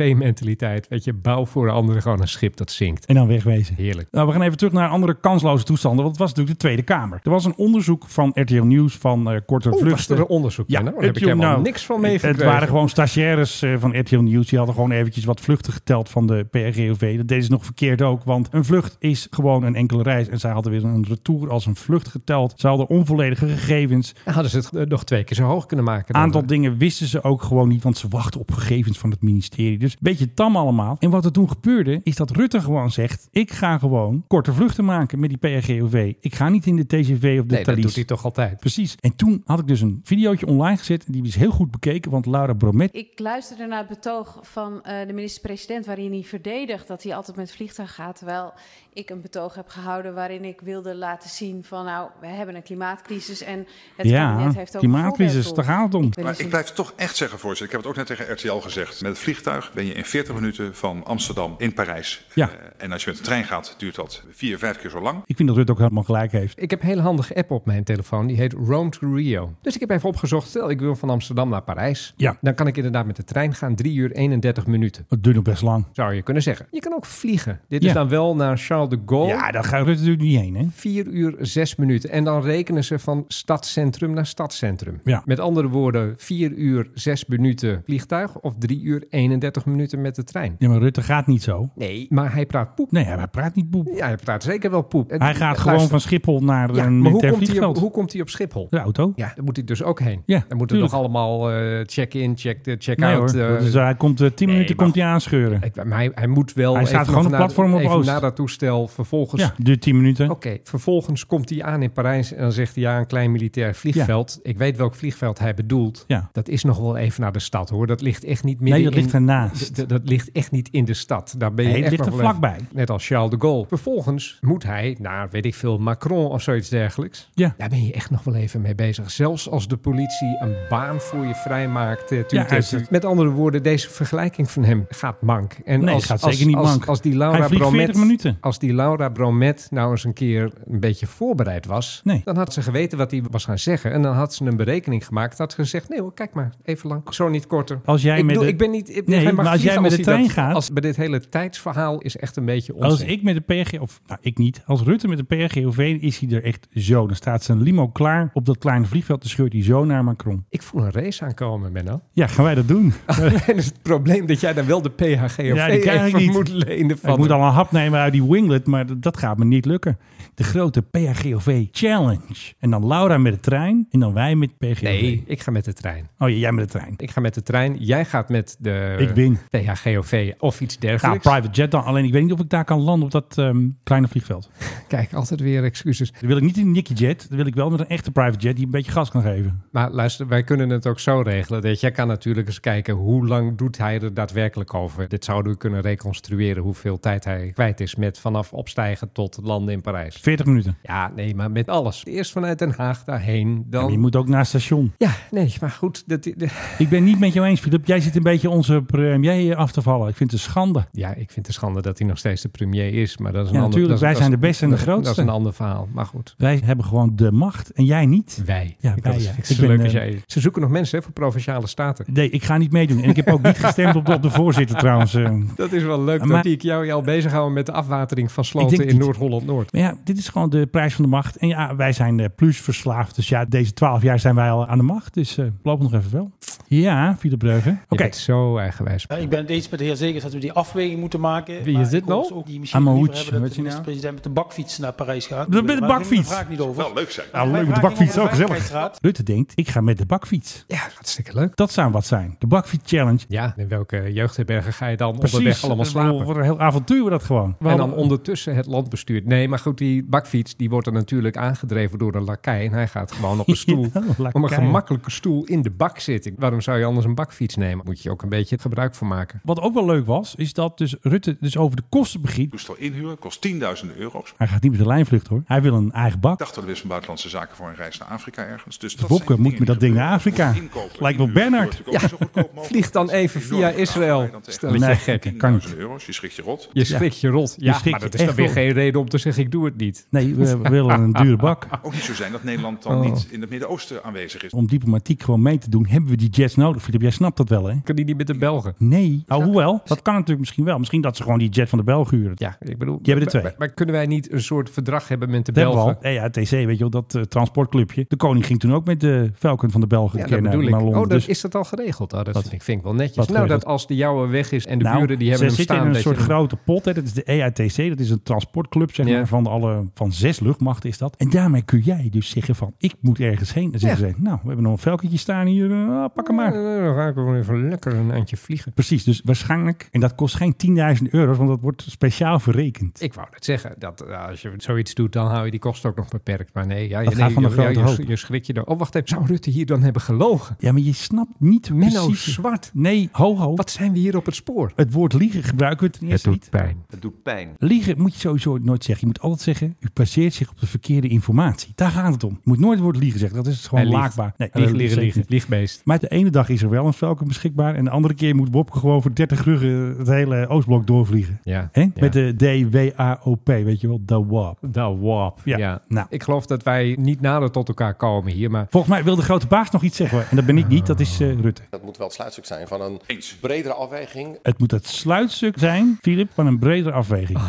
S4: VOC-mentaliteit. Weet je, bouw voor de anderen gewoon een schip dat zinkt.
S3: En dan wegwezen.
S4: Heerlijk.
S3: Nou, we gaan even terug naar andere kansloze toestanden. Want het was natuurlijk de Tweede Kamer. Er was een onderzoek van RTL Nieuws van eh, korte
S4: Oeh, was
S3: vluchten.
S4: er een onderzoek? Ja, nou, daar heb ik
S3: RTL
S4: helemaal
S3: nou,
S4: niks van
S3: Het,
S4: meegekregen.
S3: het waren gewoon stagiaires eh, van RTL Nieuws. Die hadden gewoon eventjes wat vluchten geteld van de PRGOV. Dat deden ze nog verkeerd ook. Want een vlucht is gewoon een enkele reis. En zij hadden weer een retour als een vlucht geteld. Ze hadden onvolledige gegevens.
S4: Hadden ze het eh, nog twee keer zo hoog kunnen maken. dan,
S3: Aantal
S4: eh,
S3: dingen wisten ze ook gewoon niet. Want ze wachten op gegevens van het ministerie. Dus een beetje tam allemaal. En wat er toen gebeurde is dat Rutte gewoon zegt. Ik ga gewoon korte vluchten maken met die PRGOV. Ik ga niet in de TGV of de
S4: Nee, dat
S3: Thalys.
S4: doet hij toch altijd.
S3: Precies. En toen had ik dus een videootje online gezet. En die is heel goed bekeken. Want Laura Bromet
S1: Ik luisterde naar het betoog van eh, de minister-president, waarin hij verdedigt dat hij altijd met vliegtuig gaat. Terwijl ik een betoog heb gehouden waarin ik wilde laten zien van nou, we hebben een klimaatcrisis en het kabinet heeft ook een
S3: klimaatcrisis,
S1: voorbeeld
S3: daar gaat het om.
S1: wil
S8: Maar
S1: eens
S8: ik
S1: dus een-
S8: blijf het toch echt zeggen, voorzitter. Ik heb het ook net tegen RTL gezegd. Met het vliegtuig ben je in 40 minuten van Amsterdam in Parijs.
S3: Ja.
S8: Eh, en als je met de trein gaat, duurt dat vier, vijf keer zo lang.
S3: Ik vind dat Rutte ook helemaal gelijk heeft.
S4: Ik heb een hele handige app op mijn telefoon. Die heet Rome to Rio. Dus ik heb even opgezocht. Stel, ik wil van Amsterdam naar Parijs.
S3: Ja.
S4: Dan kan ik inderdaad met de trein trein gaan 3 uur 31 minuten.
S3: Het duurt nog best lang.
S4: Zou je kunnen zeggen. Je kan ook vliegen. Dit
S3: Ja.
S4: is dan wel naar Charles de Gaulle.
S3: Ja, daar gaat Rutte natuurlijk niet heen, hè?
S4: 4 uur 6 minuten. En dan rekenen ze van stadscentrum naar stadscentrum.
S3: Ja.
S4: Met andere woorden, 4 uur 6 minuten vliegtuig of 3 uur 31 minuten met de trein.
S3: Ja, maar Rutte gaat niet zo.
S4: Nee, maar hij praat poep.
S3: Nee, hij praat niet boep.
S4: Ja, hij praat zeker wel poep. En-
S3: Hij gaat
S4: Luister,
S3: gewoon van Schiphol naar
S4: ja,
S3: een
S4: maar hoe
S3: militair
S4: komt, hij op,
S3: vliegveld.
S4: hoe komt hij op Schiphol?
S3: De auto.
S4: Ja, daar moet hij dus ook heen.
S3: Ja,
S4: dan moeten
S3: tuurlijk.
S4: nog allemaal eh, check-in, check- eh,
S3: Nee
S4: check-out.
S3: hoor.
S4: eh,
S3: dus hij komt eh, 10
S4: nee,
S3: minuten
S4: maar-
S3: komt hij aanscheuren.
S4: ik- maar hij, hij moet wel
S3: Hij staat
S4: even
S3: gewoon
S4: nog
S3: op
S4: naar-
S3: platform op
S4: even
S3: Oost.
S4: naar dat toestel. Vervolgens
S3: Ja, duurt 10 minuten.
S4: Oké, vervolgens komt hij aan in Parijs en dan zegt hij ja, een klein militair vliegveld. Ik weet welk vliegveld hij bedoelt.
S3: Ja.
S4: Dat is nog wel even naar de stad hoor. Dat ligt echt niet meer
S3: Nee, dat ligt ernaast.
S4: D- d- dat ligt echt niet in de stad. Daar ben je
S3: Nee, het
S4: echt
S3: ligt
S4: nog
S3: er
S4: wel even-
S3: vlakbij.
S4: Net als Charles de Gaulle. Vervolgens moet hij naar, weet ik veel, Macron of zoiets dergelijks.
S3: Ja.
S4: Daar ben je echt nog wel even mee bezig. Zelfs als de politie een baan voor je vrijmaakt. eh, tuut,
S3: Ja,
S4: tuut,
S3: is het-
S4: tuut. Met andere woorden, deze vergelijking van hem gaat mank. En
S3: Nee,
S4: als,
S3: gaat
S4: als-
S3: zeker niet
S4: als,
S3: mank.
S4: Als die
S3: Hij
S4: Laura
S3: vliegt
S4: Bromet
S3: 40 minuten.
S4: als die Laura Bromet nou eens een keer een beetje voorbereid was,
S3: Nee.
S4: dan had ze geweten wat hij was gaan zeggen. En dan had ze een berekening gemaakt. Had ze gezegd: nee hoor, kijk maar, even lang. Zo niet korter.
S3: Als jij
S4: ik,
S3: met
S4: bedoel,
S3: de-
S4: ik ben niet. ik-
S3: Nee,
S4: hij mag
S3: maar als jij
S4: vliegen
S3: met de
S4: hij
S3: trein gaat-
S4: Als, bij dit hele tijdsverhaal is echt een beetje onzin.
S3: Als ik met de PRG, of nou, ik niet, als Rutte met de PRGOV is hij er echt zo. Dan staat zijn limo klaar op dat kleine vliegveld. Dan scheurt hij zo naar Macron.
S4: Ik voel een race aankomen, Menno.
S3: Ja, gaan wij dat doen?
S4: [LAUGHS] en is het probleem dat jij dan wel de PHG of
S3: Ja, die krijg ik
S4: even
S3: niet.
S4: moet lenen van
S3: Ik moet
S4: hem.
S3: al een hap nemen uit die winglet, maar d- dat gaat me niet lukken. De grote PHGOV Challenge. En dan Laura met de trein en dan wij met PHGOV.
S4: Nee, ik ga met de trein.
S3: Oh ja, jij met de trein.
S4: Ik ga met de trein. Jij gaat met de
S3: Ik win. Nou,
S4: PHGOV of iets
S3: Ja,
S4: dergelijks.
S3: private jet dan. Alleen ik weet niet of ik daar kan landen op dat ehm, kleine vliegveld.
S4: Kijk, altijd weer excuses.
S3: Dan wil ik niet in een Nicky jet. Dan wil ik wel met een echte private jet die een beetje gas kan geven.
S4: Maar luister, wij kunnen het ook zo regelen. Dat jij kan natuurlijk eens kijken hoe lang doet hij er daadwerkelijk over. Dit zouden we kunnen reconstrueren hoeveel tijd hij kwijt is met vanaf opstijgen tot landen in Parijs.
S3: 40 minuten.
S4: Ja, nee, maar met alles. Eerst vanuit Den Haag daarheen,
S3: Ja, maar
S4: dan...
S3: je moet ook naar het station.
S4: Ja, nee, maar goed. Dat, de-
S3: Ik ben niet met jou eens, Filip. Jij zit een beetje onze premier af te vallen. Ik vind het een schande.
S4: Ja, ik vind het schande dat hij nog steeds de premier is. Maar dat is een
S3: Ja,
S4: ander,
S3: natuurlijk.
S4: dat is-
S3: Wij
S4: dat is-
S3: zijn de beste en de
S4: dat- Dat
S3: grootste.
S4: is een ander verhaal, maar goed.
S3: Wij hebben gewoon de macht en jij niet.
S4: Wij.
S3: Ja,
S4: ik
S3: wij,
S4: dat is-
S3: ja.
S4: vind ik
S3: Ik
S4: zo
S3: ben,
S4: [LAUGHS] leuk als
S3: eh,
S4: jij... Ze zoeken nog mensen hè, voor Provinciale Staten.
S3: Nee, ik ga niet meedoen. En ik heb ook niet gestemd op de, op de voorzitter trouwens. Eh,
S4: Dat is wel leuk
S3: Maar-
S4: dat ik jou al bezighouden met de afwatering van
S3: Ik
S4: sloten
S3: denk
S4: in
S3: dat-
S4: Noord-Holland-Noord.
S3: Maar ja, dit is gewoon de prijs van de macht. En ja, wij zijn eh, plus verslaafd. Dus ja, deze twaalf jaar zijn wij al aan de macht. Dus eh loop nog even wel. Ja, Philip Breugen. Oké,
S4: Je bent zo eigenwijs.
S9: Ja, ik ben het eens met de heer Zegers dat we die afweging moeten maken.
S4: Wie
S9: Maar
S4: is dit
S9: ik hoor
S4: nou?
S9: dus ook die misschien
S3: Amauhoed,
S9: liever hebben
S3: weet
S9: dat
S3: je
S9: de
S3: nou?
S9: minister-president met de bakfiets naar Parijs gaat.
S3: Met de
S9: Maar daar ging
S3: bakfiets?
S9: de vraag niet over.
S8: Wel leuk zijn.
S3: nou,
S9: Wij
S3: leuk met de
S9: vragen
S3: bakfiets.
S9: niet
S3: Ook
S9: over de
S3: gezellig.
S9: veiligheidsraad.
S3: Rutte denkt, ik ga met de bakfiets.
S4: Ja, hartstikke leuk.
S3: Dat zou wat zijn. De bakfiets challenge.
S4: Ja, in welke jeugdherbergen ga je dan onderweg allemaal
S3: Ik bedoel,
S4: slapen?
S3: Wat een heel avontuur wordt dat gewoon. We
S4: En dan
S3: hadden-
S4: ondertussen het land bestuurt. Nee, maar goed, die bakfiets die wordt er natuurlijk aangedreven door een lakai. En hij gaat gewoon
S3: [LAUGHS]
S4: op een stoel,
S3: Ja, een lakai.
S4: op een gemakkelijke stoel in de bak zitten. Waarom zou je anders een bakfiets nemen? Moet je ook een beetje gebruik van maken.
S3: Wat ook wel leuk was, is dat dus Rutte dus over de kosten begint.
S8: Toestel inhuren kost 10.000 euro's.
S3: Hij gaat niet met de lijnvlucht hoor. Hij wil een eigen
S8: Ik
S3: bak.
S8: dacht dat er is van buitenlandse zaken voor een reis naar Afrika ergens. Dus dat
S3: Bobke
S8: zijn
S3: moet met
S8: dingen
S3: dat
S8: die
S3: ding naar
S8: gebeuren.
S3: Afrika.
S8: Moet inkopen,
S3: Lijkt wel
S8: inhuren,
S3: Bernhard.
S8: wordt natuurlijk ook niet zo
S4: [LAUGHS]
S8: goedkoop mogelijk.
S4: Vlieg dan
S8: Dat is
S4: even
S8: een
S4: via
S8: enorme
S4: Israël.
S8: vraag waar je dan
S4: Stel je
S8: tegenaan
S3: gek,
S8: komt.
S3: kan niet.
S8: 10.000 euro's, je schrikt je rot.
S4: Je schrikt je rot. Ja,
S3: schrikt
S4: maar dat
S3: je
S4: is dan
S3: echt
S4: weer
S3: rot.
S4: geen reden om te zeggen ik doe het niet.
S3: Nee, we we willen een dure bak. [LAUGHS]
S8: Ook niet zo zijn dat Nederland dan
S3: Oh.
S8: niet in het Midden-Oosten aanwezig is.
S3: Om diplomatiek gewoon mee te doen, hebben we die jets nodig. Filip, jij snapt dat wel hè?
S4: Kan die niet met de Belgen?
S3: Nee. Nou, hoewel, dat kan natuurlijk misschien wel. Misschien dat ze gewoon die jet van de Belgen huren.
S4: Ja, ik bedoel...
S3: Je hebt er twee.
S4: Maar, maar kunnen wij niet een soort verdrag hebben met de
S3: Dat hebben we
S4: Belgen?
S3: al. Nee, ja, TC, weet je wel, dat eh, transportclubje. De koning ging toen ook met de Falcon van de Belgen
S4: Ja,
S3: een
S4: dat
S3: keer naar,
S4: bedoel ik.
S3: naar Londen.
S4: oh, dat,
S3: Dus
S4: is dat al geregeld? Oh, dat vind, ik, vind ik wel netjes.
S3: Wat
S4: Nou, dat
S3: geregeld?
S4: als de jouwe weg is en de
S3: nou,
S4: buren die
S3: ze
S4: hebben hem
S3: zitten
S4: staan...
S3: in een
S4: dat je
S3: soort
S4: dan-
S3: grote pot. Hè. Dat is de EATC. Dat is een transportclub zeg
S4: Ja.
S3: maar, van, alle, van zes luchtmachten is dat. En daarmee kun jij dus zeggen van, ik moet ergens heen. Dan zeggen ze, nou, we hebben nog een velkentje staan hier. eh, pak hem maar.
S4: Ja, dan ga ik gewoon even lekker een eindje vliegen.
S3: Precies, dus waarschijnlijk. En dat kost geen 10.000 euro, want dat wordt speciaal verrekend.
S4: Ik wou net zeggen, dat eh, als je zoiets doet, dan hou je die kosten ook nog beperkt. Maar nee, ja, je,
S3: Dat
S4: nee,
S3: gaat van de
S4: je-
S3: grote
S4: ja, je,
S3: hoop.
S4: je schrik je dan. Oh, wacht even. Zou Rutte hier dan hebben gelogen?
S3: Ja, maar je snapt niet
S4: Menno
S3: precies.
S4: Zwart.
S3: Nee, ho ho.
S4: Wat zijn we hier op het spoor?
S3: Het woord liegen gebruiken we ten eerste niet.
S4: pijn.
S6: Het doet pijn.
S3: Liegen moet je sowieso nooit zeggen. Je moet altijd zeggen, u baseert zich op de verkeerde informatie. Daar gaat het om. Je moet nooit het woord liegen zeggen. Dat is gewoon
S4: Hij liegt.
S3: laakbaar. Nee,
S4: Lieg,
S3: eh,
S4: lieg,
S3: zeker
S4: lieg.
S3: niet.
S4: Liegbeest.
S3: Maar de ene ene dag is er wel een Falcon beschikbaar. En de andere keer moet Wopke gewoon voor 30 ruggen het hele Oostblok doorvliegen.
S4: Ja,
S3: Hè?
S4: ja.
S3: Met de DWAOP, weet je wel, de WAP.
S4: De WAP, ja.
S3: nou.
S4: Ik geloof dat wij niet nader tot elkaar komen hier, maar...
S3: Volgens mij wil de grote baas nog iets zeggen. hoor. En dat ben ik niet, dat is eh, Rutte.
S12: Dat moet wel het sluitstuk zijn van een bredere afweging.
S3: Het moet het sluitstuk zijn, Filip, van een bredere afweging.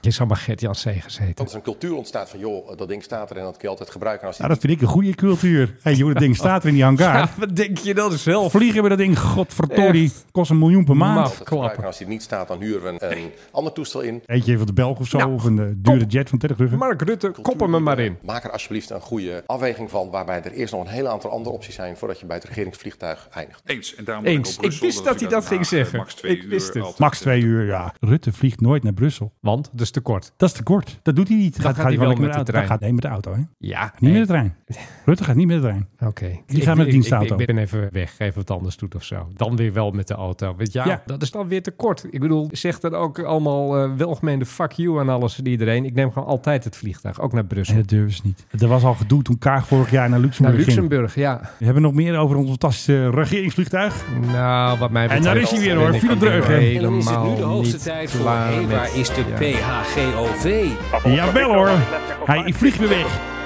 S4: je zou maar Gert-Jan C. gezeten.
S12: Dat er een cultuur ontstaat van, joh, dat ding staat er en dat kun je altijd gebruiken. Als je
S3: Nou, dat vind ik een goede cultuur. Hé, hey, joh, dat ding staat er in die hangar.
S4: Ja, wat denk je dan zelf? Nou,
S3: Vliegen we dat ding, godverdorie,
S12: Echt.
S3: kost een miljoen per
S12: Als
S3: maand.
S12: je het gebruiken. Als die er niet staat, dan huren we een,
S5: [LAUGHS]
S12: een ander toestel in.
S3: Eentje van de Belg of zo, of een eh, dure jet van 30 ruggen.
S4: Mark Rutte, kop hem er maar in.
S12: Maak er alsjeblieft een goede afweging van, waarbij er eerst nog een heel aantal andere opties zijn voordat je bij het regeringsvliegtuig eindigt.
S8: Eens. En daarom
S4: Eens. Ik wist dat hij dat ging
S8: eh,
S4: zeggen. Ik wist het.
S3: Max twee uur, ja. Rutte vliegt nooit naar Brussel.
S4: Want, dat is te kort.
S3: Dat is te kort. Dat doet hij niet.
S4: Dan gaat hij
S3: gewoon
S4: wel
S3: lekker
S4: met
S3: de auto.
S4: de
S3: Dan
S4: trein.
S3: gaat hij met de auto, hè?
S4: Ja.
S3: Niet met de trein. Rutte gaat niet met de trein.
S4: Oké.
S3: Die
S4: Ik-
S3: gaan met
S4: ik-
S3: de dienstauto.
S4: Ik, ik ben even weg, even wat anders doet of zo. Dan weer wel met de auto. Want ja,
S3: Ja.
S4: dat is dan weer te kort. Ik bedoel, zeg dan ook allemaal eh welgemeende fuck you aan alles en iedereen. Ik neem gewoon altijd het vliegtuig, ook naar Brussel.
S3: Nee, dat durven ze niet. Er was al gedoe toen Kaag vorig jaar naar
S4: naar
S3: Luxemburg,
S4: Luxemburg, ja.
S3: ging. We hebben nog meer over ons fantastische regeringsvliegtuig.
S4: Nou, wat
S3: En
S4: mij betreft...
S3: daar is hij weer, hoor.
S4: ben ik
S3: Philip
S4: alweer
S3: Dreugen.
S10: En dan is het nu de
S4: helemaal
S10: hoogste
S4: niet
S10: tijd voor
S4: klaar
S10: hey,
S4: met-
S10: waar is de
S4: Ja.
S10: PHGOV?
S3: Jawel hoor. Hij vliegt weer weg.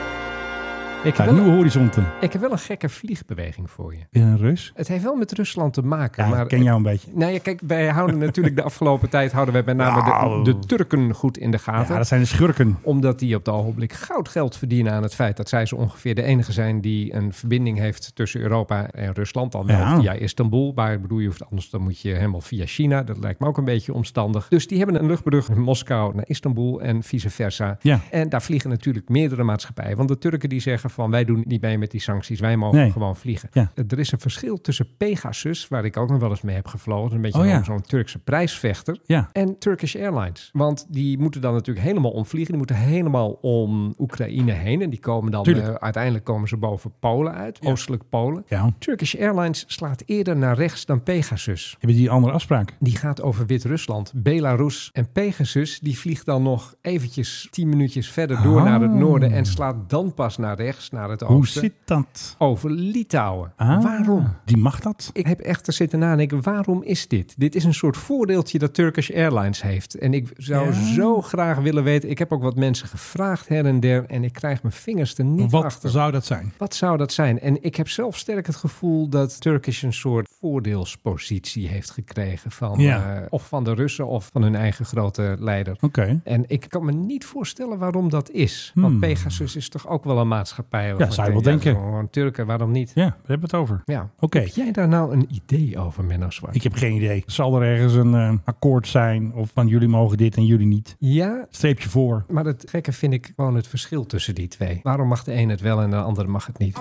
S4: Ik
S3: Naar
S4: wil-
S3: nieuwe horizonten.
S4: Ik heb wel een gekke vliegbeweging voor je.
S3: Weer een Rus.
S4: Het heeft wel met Rusland te maken.
S3: Ja,
S4: maar
S3: ik ken jou een beetje.
S4: Nou ja, kijk, wij houden natuurlijk de afgelopen tijd houden wij met name
S3: Nou.
S4: de, de Turken goed in de gaten.
S3: Ja, dat zijn de schurken.
S4: Omdat die op het ogenblik goud geld verdienen aan het feit dat zij zo ongeveer de enige zijn die een verbinding heeft tussen Europa en Rusland. Dan wel
S3: Ja.
S4: via Istanbul. Maar ik bedoel, je hoeft anders dan moet je helemaal via China. Dat lijkt me ook een beetje omstandig. Dus die hebben een luchtbrug van Moskou naar Istanbul en vice versa.
S3: Ja.
S4: En daar vliegen natuurlijk meerdere maatschappijen. Want de Turken die zeggen van wij doen niet mee met die sancties. Wij mogen
S3: Nee.
S4: gewoon vliegen.
S3: Ja.
S4: Er is een verschil tussen Pegasus, waar ik ook nog wel eens mee heb gevlogen. Een beetje
S3: Oh, ja.
S4: zo'n- zo'n Turkse prijsvechter
S3: Ja.
S4: en Turkish Airlines. Want die moeten dan natuurlijk helemaal omvliegen. Die moeten helemaal om Oekraïne heen. En die komen dan
S3: Tuurlijk.
S4: eh, uiteindelijk komen ze boven Polen uit, oostelijk Polen.
S3: Ja.
S4: Turkish Airlines slaat eerder naar rechts dan Pegasus.
S3: Hebben die een andere afspraak?
S4: Die gaat over Wit-Rusland, Belarus en Pegasus. Die vliegt dan nog eventjes tien minuutjes verder door
S3: Ah.
S4: naar het noorden en slaat dan pas naar rechts, naar het oosten.
S3: Hoe zit dat?
S4: Over Litouwen.
S3: Ah,
S4: Waarom?
S3: Die mag dat?
S4: Ik heb echt te zitten nadenken, waarom is dit? Dit is een soort voordeeltje dat Turkish Airlines heeft. En ik zou
S3: Ja.
S4: zo graag willen weten... Ik heb ook wat mensen gevraagd her en der... en ik krijg mijn vingers er niet
S3: Wat
S4: achter.
S3: zou dat zijn?
S4: Wat zou dat zijn? En ik heb zelf sterk het gevoel dat Turkish een soort voordeelspositie heeft gekregen... Van,
S3: Ja.
S4: eh, of van de Russen of van hun eigen grote leider.
S3: Oké.
S4: En ik kan me niet voorstellen waarom dat is.
S3: Hmm.
S4: Want Pegasus is toch ook wel een maatschappij? waarvan
S3: zou je
S4: ik
S3: wel
S4: denk, ja,
S3: denken.
S4: Gewoon Turken, waarom niet?
S3: Ja, daar hebben we het over.
S4: Ja.
S3: Oké.
S4: Heb jij daar nou een idee over, Menno Zwart?
S3: Ik heb geen idee. Zal er ergens een eh, akkoord zijn of van jullie mogen dit en jullie niet?
S4: Ja,
S3: Streepje voor.
S4: maar het gekke vind ik gewoon het verschil tussen die twee. Waarom mag de een het wel en de andere mag het niet?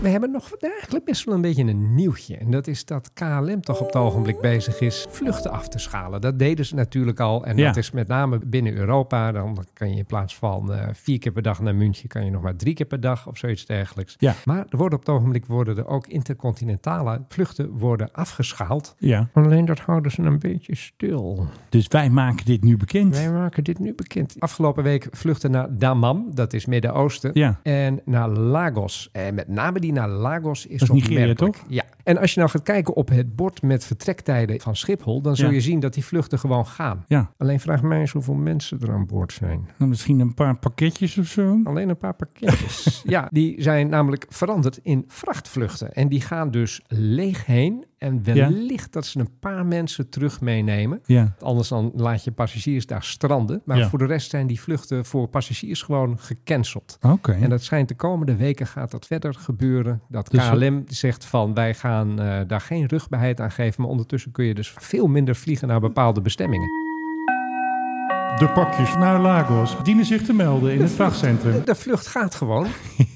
S4: We hebben nog eigenlijk best wel een beetje een nieuwtje. En dat is dat KLM toch op het ogenblik bezig is vluchten af te schalen. Dat deden ze natuurlijk al. En
S3: Ja.
S4: dat is met name binnen Europa. Dan kan je in plaats van eh, vier keer per dag naar München... kan je nog maar drie keer per dag of zoiets dergelijks.
S3: Ja.
S4: Maar er worden op het ogenblik worden er ook intercontinentale vluchten worden afgeschaald.
S3: Ja.
S4: Alleen dat houden ze een beetje stil.
S3: Dus wij maken dit nu bekend.
S4: Wij maken dit nu bekend. Afgelopen week vluchten naar Damam, dat is Midden-Oosten.
S3: Ja.
S4: En naar Lagos. En met name die naar Lagos is,
S3: Dat is Nigeria,
S4: opmerkelijk.
S3: toch?
S4: Ja. En als je nou gaat kijken op het bord met vertrektijden van Schiphol, dan zul
S3: Ja.
S4: je zien dat die vluchten gewoon gaan.
S3: Ja.
S4: Alleen vraag mij eens hoeveel mensen er aan boord zijn.
S3: Nou, misschien een paar pakketjes of zo.
S4: Alleen een paar pakketjes.
S3: [LAUGHS]
S4: ja, die zijn namelijk veranderd in vrachtvluchten. En die gaan dus leeg heen. En wellicht dat ze een paar mensen terug meenemen.
S3: Ja.
S4: Anders dan laat je passagiers daar stranden. Maar
S3: Ja.
S4: voor de rest zijn die vluchten voor passagiers gewoon gecanceld.
S3: Oké.
S4: En dat schijnt de komende weken gaat dat verder gebeuren. Dat
S3: Dus-
S4: KLM zegt van wij gaan eh, daar geen rugbijheid aan geven. Maar ondertussen kun je dus veel minder vliegen naar bepaalde bestemmingen.
S3: De pakjes naar Lagos dienen zich te melden [LAUGHS] in het vrachtcentrum.
S4: De vlucht gaat
S3: [LAUGHS]
S4: gewoon.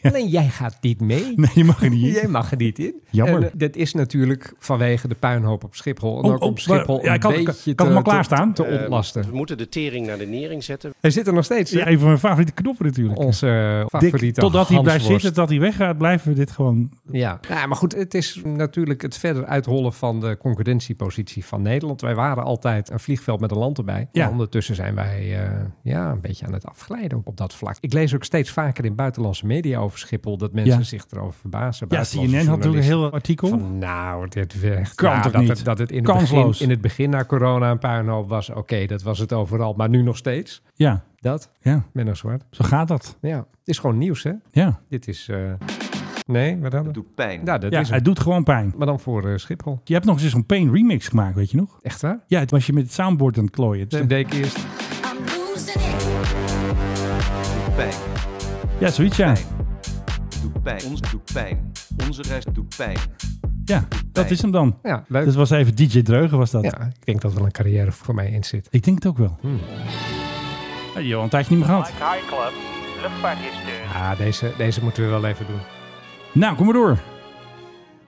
S4: Alleen jij gaat niet mee.
S3: Hm. Nee, je mag er niet. in.
S4: Jij mag er niet in.
S3: Jammer.
S4: En, eh, dat is natuurlijk vanwege de puinhoop op Schiphol. En
S3: Oh,
S4: ook
S3: oh,
S4: op Schiphol
S3: maar- ja,
S4: een
S3: ik had- ik-
S4: beetje
S3: ik had hem
S4: te-
S3: al klaarstaan. Eh,
S4: te, te ontlasten.
S13: We moeten de tering naar de nering zetten.
S4: Hij zit er nog steeds. hè?
S3: Ja, een van mijn favoriete knoppen natuurlijk.
S4: Onze eh,
S3: Dick,
S4: favoriete
S3: totdat hij blijft
S4: Hansworst.
S3: zitten, dat hij weggaat, blijven we dit gewoon...
S4: Ja. Nou ja, maar goed, het is natuurlijk het verder uithollen van de concurrentiepositie van Nederland. Wij waren altijd een vliegveld met een land erbij.
S3: Ja.
S4: Maar Ondertussen zijn wij wij eh, ja, een beetje aan het afglijden op dat vlak. Ik lees ook steeds vaker in buitenlandse media over Schiphol dat mensen
S3: Ja.
S4: zich erover verbazen.
S3: Ja,
S4: Buitenlandse
S3: CNN had ook een
S4: journalisten.
S3: heel artikel.
S4: Van, nou, dit werd,
S3: Kan toch
S4: dat
S3: niet?
S4: Het, dat het in, het begin,
S3: Kansloos.
S4: in het begin na corona een puinhoop was. Oké, dat was het overal, maar nu nog steeds.
S3: Ja.
S4: Dat?
S3: Ja.
S4: Menno Zwart.
S3: Zo gaat dat.
S4: Ja, het is gewoon nieuws, hè?
S3: Ja.
S4: Dit is... eh, Nee, wat dan? Het
S6: doet pijn.
S4: Ja, dat
S3: ja,
S4: is
S3: het
S4: het.
S3: doet gewoon pijn.
S4: Maar dan voor eh, Schiphol.
S3: Je hebt nog eens een Pain remix gemaakt, weet je nog?
S4: Echt waar?
S3: Ja, het was je met het soundboard aan het klooien.
S4: Dat deed Dus ik eerst.
S6: Pijn.
S3: Ja, zoiets ja.
S6: Doet pijn. Ons doet pijn. Onze reis doet pijn.
S3: Ja, dat is hem dan.
S4: Ja, leuk.
S3: dat was even DJ Dreugen was dat.
S4: Ja, Hmm. ik denk dat er wel een carrière voor mij in zit.
S3: Ik denk het ook wel. Ja, die al een tijdje niet meer
S4: Oh,
S3: gehad.
S14: High Club, luchtvaartdirecteur.
S4: Ah, deze, deze moeten we wel even doen.
S3: Nou, kom maar door.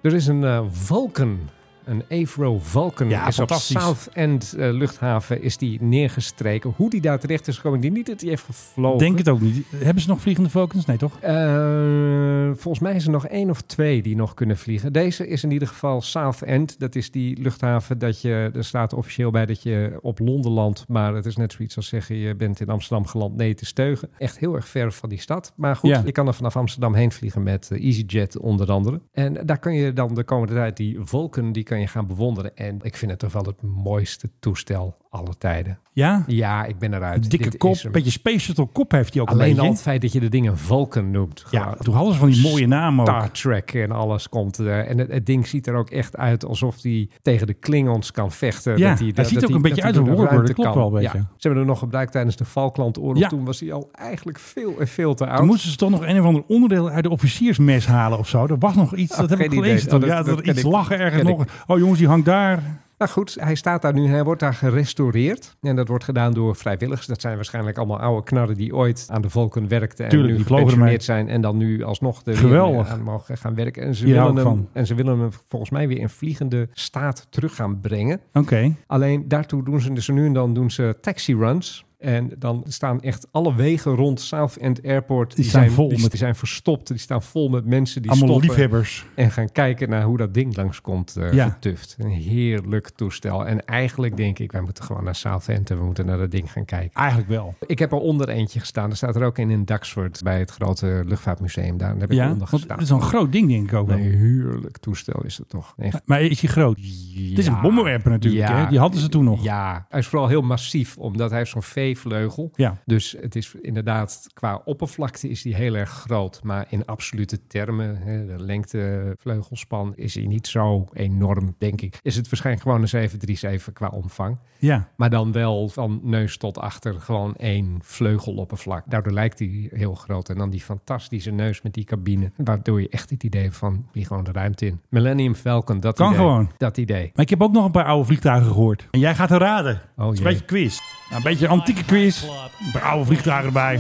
S4: Er is een eh, Vulcan, een Avro Vulcan.
S3: Ja,
S4: is op
S3: fantastisch.
S4: South End eh, luchthaven is die neergestreken. Hoe die daar terecht is gekomen, ik denk niet dat die heeft gevlogen.
S3: Denk het ook niet. Hebben ze nog vliegende Vulcans? Nee, toch?
S4: Eh, volgens mij zijn er nog één of twee die nog kunnen vliegen. Deze is in ieder geval South End. Dat is die luchthaven dat je, er staat officieel bij dat je op Londen landt. Maar het is net zoiets als zeggen je bent in Amsterdam geland. Nee, te steugen. Echt heel erg ver van die stad. Maar goed,
S3: Ja.
S4: je kan er vanaf Amsterdam heen vliegen met eh, EasyJet onder andere. En daar kan je dan de komende tijd die wolken die kan je gaan bewonderen. En ik vind het toch wel het mooiste toestel alle tijden.
S3: Ja?
S4: Ja, ik ben eruit.
S3: Dikke
S4: Dit
S3: kop,
S4: is hem.
S3: een beetje Space Shuttle kop heeft hij ook een
S4: Alleen
S3: beetje.
S4: al het feit dat je de dingen Vulcan noemt.
S3: Ja, toen hadden ze van die mooie namen ook.
S4: Star Trek en alles komt. eh, en het, het ding ziet er ook echt uit alsof die tegen de Klingons kan vechten.
S3: Ja,
S4: dat
S3: hij
S4: die, dat
S3: ziet
S4: die
S3: ook
S4: door
S3: een
S4: de
S3: beetje uit
S4: ruimte
S3: een Warbird,
S4: kan.
S3: dat klopt wel een
S4: Ja.
S3: beetje.
S4: Ze hebben er nog gebruikt tijdens de Falklandoorlog.
S3: Ja.
S4: Toen was hij al eigenlijk veel en veel te
S3: Toen
S4: oud.
S3: moesten ze toch nog een of ander onderdeel uit de officiersmes halen of zo. Er was nog iets,
S4: Ah,
S3: dat heb ik
S4: geen idee.
S3: gelezen. toen.
S4: Oh,
S3: ja,
S4: dat- dat
S3: dat er
S4: ken
S3: iets
S4: ik.
S3: lag ergens
S4: Ken ik.
S3: nog. Oh jongens, die hangt daar.
S4: Nou goed, hij staat daar nu. Hij wordt daar gerestaureerd. En dat wordt gedaan door vrijwilligers. Dat zijn waarschijnlijk allemaal oude knarren die ooit aan de Vulcan werkten. En
S3: Tuurlijk,
S4: nu
S3: die vlogen ermee.
S4: gepensioneerd zijn. En dan nu alsnog de
S3: Geweldig.
S4: aan mogen gaan werken. En ze,
S3: Hier hou
S4: willen
S3: ik
S4: hem,
S3: van.
S4: en ze willen hem volgens mij weer in vliegende staat terug gaan brengen.
S3: Oké.
S4: Alleen daartoe doen ze dus nu en dan doen ze taxi runs. En dan staan echt alle wegen rond South End Airport. Die,
S3: zijn vol
S4: die,
S3: met-
S4: die zijn verstopt. Die staan vol met mensen die
S3: Allemaal
S4: stoppen.
S3: liefhebbers.
S4: En gaan kijken naar hoe dat ding langskomt eh
S3: Ja.
S4: getuft. Een heerlijk toestel. En eigenlijk denk ik, wij moeten gewoon naar South End en we moeten naar dat ding gaan kijken.
S3: Eigenlijk wel.
S4: Ik heb er onder eentje gestaan. Er staat er ook in in Duxford bij het grote luchtvaartmuseum. Daar heb ik
S3: Ja,
S4: onder
S3: want
S4: gestaan.
S3: het is een groot ding denk ik ook wel.
S4: Een heerlijk toestel is het toch. Echt
S3: Maar is hij groot? Het is een bommenwerper natuurlijk.
S4: ja.
S3: Hè? Die hadden ze toen nog.
S4: Ja, hij is vooral heel massief, omdat hij heeft zo'n V-vleugel.
S3: Ja.
S4: Dus het is inderdaad, qua oppervlakte is die heel erg groot. Maar in absolute termen, hè, de lengte vleugelspan, is hij niet zo enorm, denk ik. Is het waarschijnlijk gewoon een 737 qua omvang.
S3: Ja.
S4: Maar dan wel van neus tot achter gewoon één vleugeloppervlak. Daardoor lijkt hij heel groot. En dan die fantastische neus met die cabine. Waardoor je echt het idee van, vlieg gewoon de ruimte in. Millennium Falcon, dat
S3: Kan
S4: idee.
S3: gewoon.
S4: Dat idee.
S3: Maar ik heb ook nog een paar oude vliegtuigen gehoord. En jij gaat er raden.
S4: Oh,
S3: het is een
S4: jee.
S3: beetje quiz. Nou, een beetje antieke quiz. Een paar oude vliegtuigen erbij.